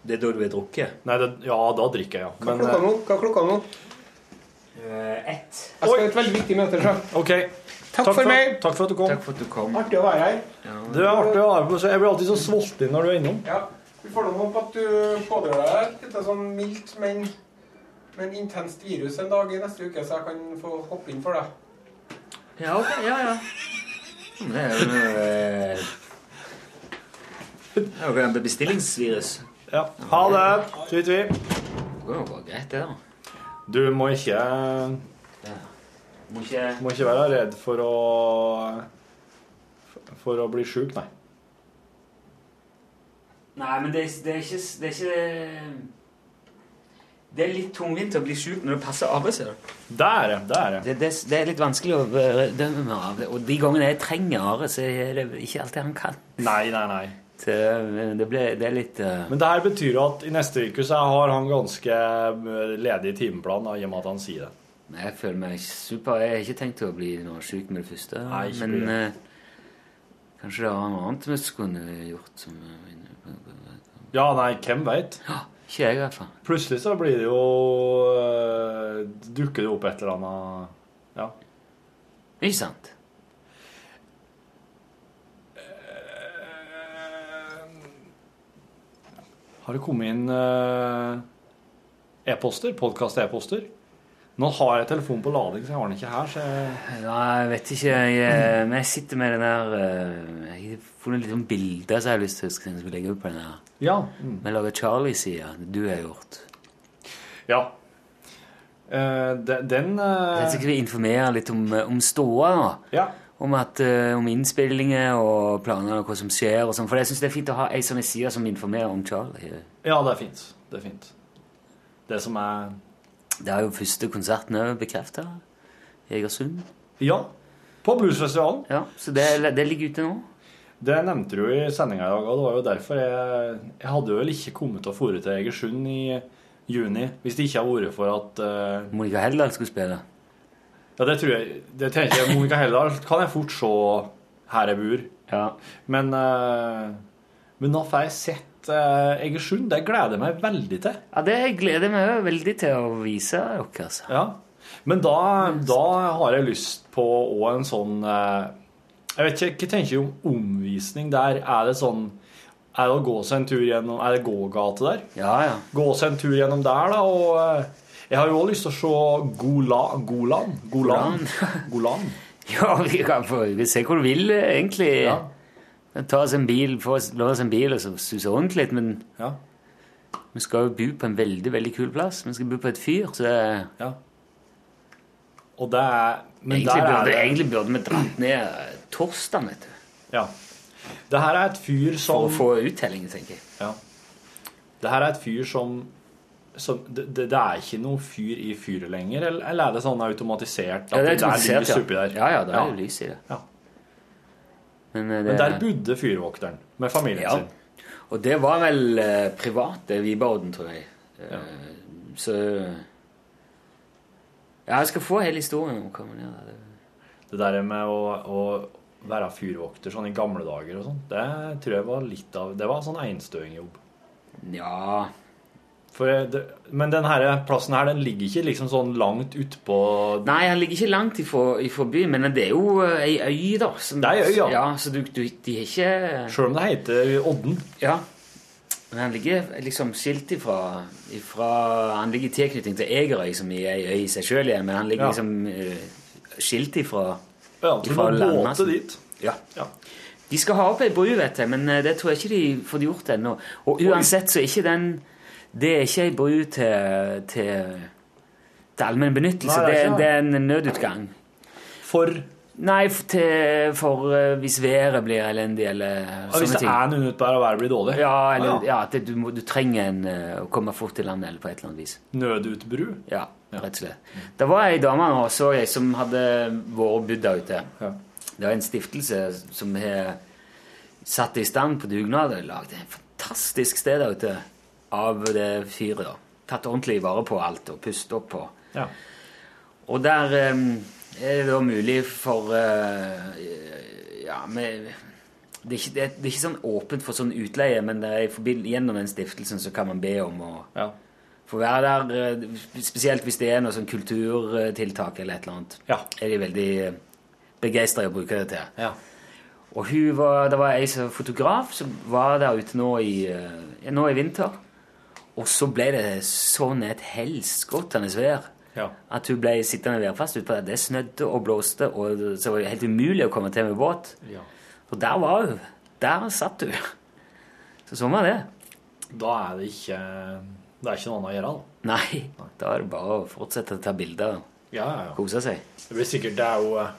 [SPEAKER 2] Det er da du er drukket?
[SPEAKER 1] Nei, det, ja, da drikker jeg, ja. eh,
[SPEAKER 4] Hva er klokka nå? Hva er klokka nå?
[SPEAKER 2] Eh, ett.
[SPEAKER 4] Jeg skal i et veldig viktig møte. så. Takk, for meg.
[SPEAKER 1] Takk for at du kom.
[SPEAKER 2] Takk for at du kom.
[SPEAKER 4] Artig å være her.
[SPEAKER 1] Det er artig å ha deg på så Jeg blir alltid så sulten når du er innom.
[SPEAKER 4] Ja, Vi får nå håpe at du pådrar deg et sånn mildt, men, men intenst virus en dag i neste uke, så jeg kan få hoppe inn for deg.
[SPEAKER 2] Ja, ok. Ja, ja. Men Det er jo eh, Det er jo en bestillingsvirus.
[SPEAKER 1] Ja. Ha det. Tvi-tvi.
[SPEAKER 2] Det går jo bare greit, det, da.
[SPEAKER 1] Du må ikke
[SPEAKER 2] Må ikke
[SPEAKER 1] Må ikke være redd for å For å bli sjuk, nei.
[SPEAKER 2] Nei, men det, er- det er ikke Det er ikke Det er litt tungvint å bli sjuk når du passer arbeid, ser du.
[SPEAKER 1] Det er det. Det er
[SPEAKER 2] det. Det, er litt vanskelig å være- det- ja, Og de gangene jeg trenger Are, så er det ikke alltid han kan.
[SPEAKER 1] Nei, nei, nei.
[SPEAKER 2] Det, det, ble, det er litt eh,
[SPEAKER 1] Men det her betyr jo at i neste uke så har han ganske eh, ledig timeplan, da, i og med at han sier det.
[SPEAKER 2] Nei, Jeg føler meg super. Jeg har ikke tenkt å bli noe syk med det første.
[SPEAKER 1] Nei, ikke bli
[SPEAKER 2] men
[SPEAKER 1] det.
[SPEAKER 2] eh, kanskje det var noe annet vi skulle gjort. Som, eh,
[SPEAKER 1] Ja, nei, hvem veit?
[SPEAKER 2] ikke jeg, i hvert fall.
[SPEAKER 1] Plutselig så blir det jo eh, Dukker det opp et eller annet Ja.
[SPEAKER 2] Ikke sant?
[SPEAKER 1] Har det kommet inn eh, e-poster? Podkast-e-poster? Nå har jeg telefonen på lading, så jeg har den ikke her. Så jeg...
[SPEAKER 2] Nei, jeg vet ikke. Jeg, eh, men jeg sitter med den der eh, Jeg har funnet litt sånn bilder som jeg har
[SPEAKER 1] Mm.
[SPEAKER 2] lyst til å skal legge ut på den her.
[SPEAKER 1] Ja.
[SPEAKER 2] Vi lager Charlie-sida. Du har gjort.
[SPEAKER 1] Ja. Eh, de- den eh,
[SPEAKER 2] Jeg skal vi informere litt om, eh, om ståa. da. Om, at, eh, om innspillinger og planer og hva som skjer. og sånn. For jeg syns det er fint å ha ei sånn side som informerer om Charlie.
[SPEAKER 1] Ja, det er fint. Det er fint. Det som er
[SPEAKER 2] Det er jo første konserten òg bekrefta. Egersund.
[SPEAKER 1] Ja. På bluesfestivalen.
[SPEAKER 2] Ja, Så det, det ligger ute nå?
[SPEAKER 1] Det nevnte du i sendinga i dag, og det var jo derfor jeg Jeg hadde vel ikke kommet til å fòre til Egersund i juni hvis det ikke hadde vært for at eh,
[SPEAKER 2] Monica Heldal skulle spille.
[SPEAKER 1] Ja, det tror jeg Det tenker jeg Monica Heldal kan jeg fort se her jeg bor. Men eh, Men nå får jeg sett eh, Egersund. Det gleder jeg meg veldig til.
[SPEAKER 2] Ja, det gleder jeg meg veldig til å vise dere. altså.
[SPEAKER 1] Ja. Men da, da har jeg lyst på òg en sånn eh, Jeg vet ikke, hva tenker du om omvisning der? Er det sånn Er det å gå seg en tur gjennom Er det gågate der?
[SPEAKER 2] Ja, ja.
[SPEAKER 1] Gå seg en tur gjennom der, da, og eh, jeg har jo òg lyst til å se Gola, Golan. Golan. Golan.
[SPEAKER 2] Ja, vi kan få vi se hvor du vil, eh, egentlig. Ta oss en bil, få oss, la oss en bil og så suse rundt litt, men vi skal jo bo på en veldig, veldig kul plass. Vi skal bo på et fyr, så
[SPEAKER 1] Og det er Men
[SPEAKER 2] egentlig,
[SPEAKER 1] der er
[SPEAKER 2] burde,
[SPEAKER 1] det
[SPEAKER 2] egentlig burde vi dratt ned eh, torsdag, vet du.
[SPEAKER 1] Ja. Det her er et fyr som
[SPEAKER 2] For å få uttelling, tenker jeg.
[SPEAKER 1] Ja. Det her er et fyr som, som det, det, det er ikke noe fyr i fyret lenger, eller, eller er det sånn automatisert? at
[SPEAKER 2] Ja, det er automatisert,
[SPEAKER 1] lys
[SPEAKER 2] ja.
[SPEAKER 1] oppi der.
[SPEAKER 2] Ja, ja, det er jo lys i det. Men, eh, det-
[SPEAKER 1] Men der altså. bodde fyrvokteren med familien
[SPEAKER 2] Ja.
[SPEAKER 1] sin.
[SPEAKER 2] Og det var vel eh, privat, det Vibarden, tror jeg. Eh, Så Ja, jeg skal få hele historien om hva man gjør. der.
[SPEAKER 1] Det der med å, å være fyrvokter sånn i gamle dager og sånn, det tror jeg var litt av Det var sånn einstøingjobb.
[SPEAKER 2] Ja
[SPEAKER 1] For eh, det, Men den her plassen her, den ligger ikke liksom sånn langt utpå
[SPEAKER 2] Nei, han ligger ikke langt ifra, ifra byen, men det er jo eh, ei øy, da. Som,
[SPEAKER 1] Det er ei øy, ja.
[SPEAKER 2] så du, du, de er ikke
[SPEAKER 1] Sjøl om det heter Odden.
[SPEAKER 2] Ja. Men han ligger liksom skilt ifra, ifra Han ligger i tilknytning til Egerøy, som er ei øy i seg sjøl, men han ligger
[SPEAKER 1] Ja.
[SPEAKER 2] liksom eh, skilt ifra
[SPEAKER 1] Ja, så du må
[SPEAKER 2] landet,
[SPEAKER 1] båte
[SPEAKER 2] altså.
[SPEAKER 1] dit.
[SPEAKER 2] Ja. De skal ha opp ei bru, vet jeg, men eh, det tror jeg ikke de får gjort ennå. Og uansett så er ikke den Det er ikke ei bru til, til, til allmenn benyttelse.
[SPEAKER 15] Nei,
[SPEAKER 2] det,
[SPEAKER 15] det er
[SPEAKER 2] er
[SPEAKER 15] ikke det.
[SPEAKER 2] det er en nødutgang.
[SPEAKER 1] For?
[SPEAKER 2] Nei, f- til, for eh, hvis været blir elendig, eller
[SPEAKER 1] Og hvis det er noen ute der og været blir dårlig?
[SPEAKER 2] Ja, eller,
[SPEAKER 1] Ah, ja.
[SPEAKER 2] ja. at det, du, må, du trenger en, eh, å komme fort til landet, eller på et eller annet vis.
[SPEAKER 1] Nødutbru?
[SPEAKER 2] Ja, rett og slett. Det var ei dame nå, så jeg, som hadde vært bodd der ute. Det var en stiftelse som har satt det i stand på dugnad og lagd et fantastisk sted der ute av det fyret. da. Tatt ordentlig vare på alt og pustet opp på.
[SPEAKER 1] Ja.
[SPEAKER 2] Og der eh, er det da mulig for eh, Ja, med det er, ikke, det, er, det er ikke sånn åpent for sånn utleie, men det er i forbind- gjennom den stiftelsen så kan man be om å få være der. eh, Spesielt hvis det er noe sånn kulturtiltak eller et eller annet. Er de veldig begeistra i å bruke det til. Og hun var, det var ei som fotograf som var der ute nå i, eh, nå i vinter. Og så ble det sånn et helskottende vær at hun ble sittende værfast ute på det. Det snødde og blåste, og så var det helt umulig å komme til med båt.
[SPEAKER 1] Ja.
[SPEAKER 2] Og der var hun. Der satt hun. Så sånn var det.
[SPEAKER 1] Da er det ikke Det er ikke noe annet å gjøre, da.
[SPEAKER 2] Nei, da er det bare å fortsette å ta bilder og
[SPEAKER 1] Ja, ja, ja.
[SPEAKER 2] kose seg.
[SPEAKER 1] Det blir sikkert Det er jo eh,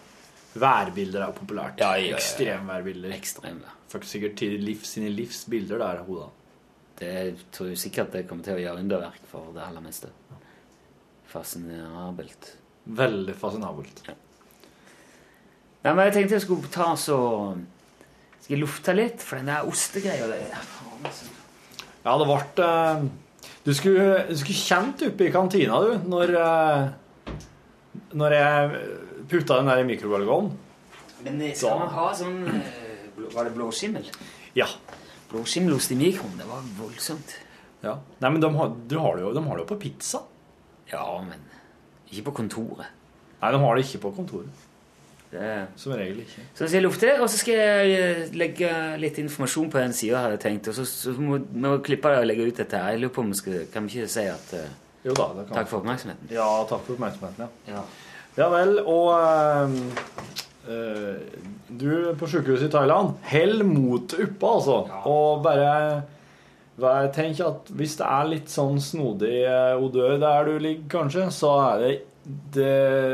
[SPEAKER 1] Værbilder er jo populært.
[SPEAKER 2] Ja, ja, ja.
[SPEAKER 1] Ekstremværbilder. Fikk sikkert til livs sine livs bilder der, hoda.
[SPEAKER 2] Det tror jeg sikkert det kommer til å gjøre underverk for det aller meste. Fascinerabelt.
[SPEAKER 1] Veldig fascinabelt.
[SPEAKER 2] Nei, men jeg tenkte jeg skulle ta så Skal jeg lufte litt? For den der ostegreia det er faen, altså.
[SPEAKER 1] Ja, det ble eh, Du skulle, du skulle kjent oppe i kantina, du, når eh, Når jeg putta den der i mikrobølgeovnen.
[SPEAKER 2] Men eh, skal man ha sånn eh, blå- Var det blåskimmel?
[SPEAKER 1] Ja.
[SPEAKER 2] Blåskimmelost i mikroen, det var voldsomt.
[SPEAKER 1] Ja. Nei, men de har, du har det jo, de har det jo på pizza.
[SPEAKER 2] Ja, men ikke på kontoret.
[SPEAKER 1] Nei, de har det ikke på kontoret. Som regel ikke.
[SPEAKER 2] Så skal jeg lufte, og så skal jeg eh, legge litt informasjon på den sida, hadde jeg tenkt. Og så, så må vi må klippe det og legge ut dette her. Jeg lurer på om vi skal Kan vi ikke si at eh,
[SPEAKER 1] Jo da, det kan
[SPEAKER 2] Takk for oppmerksomheten.
[SPEAKER 1] Ja, takk for oppmerksomheten,
[SPEAKER 2] ja. Ja,
[SPEAKER 1] vel, og ehm, eh, Du på sykehuset i Thailand, hell motet oppe, altså. Og bare Vær- Tenk at hvis det er litt sånn snodig eh, odør der du ligger, kanskje, så er det, det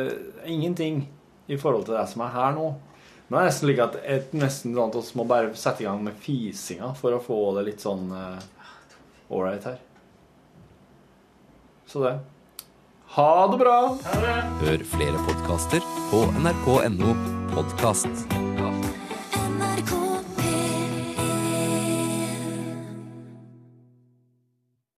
[SPEAKER 1] er ingenting i forhold til det som er her nå. Men det er nesten slik at et, nesten sånn at vi må bare sette i gang med fisinga for å få det litt sånn ålreit her. Så det. Ha det bra!
[SPEAKER 16] Hør flere podkaster på nrk.no podkast.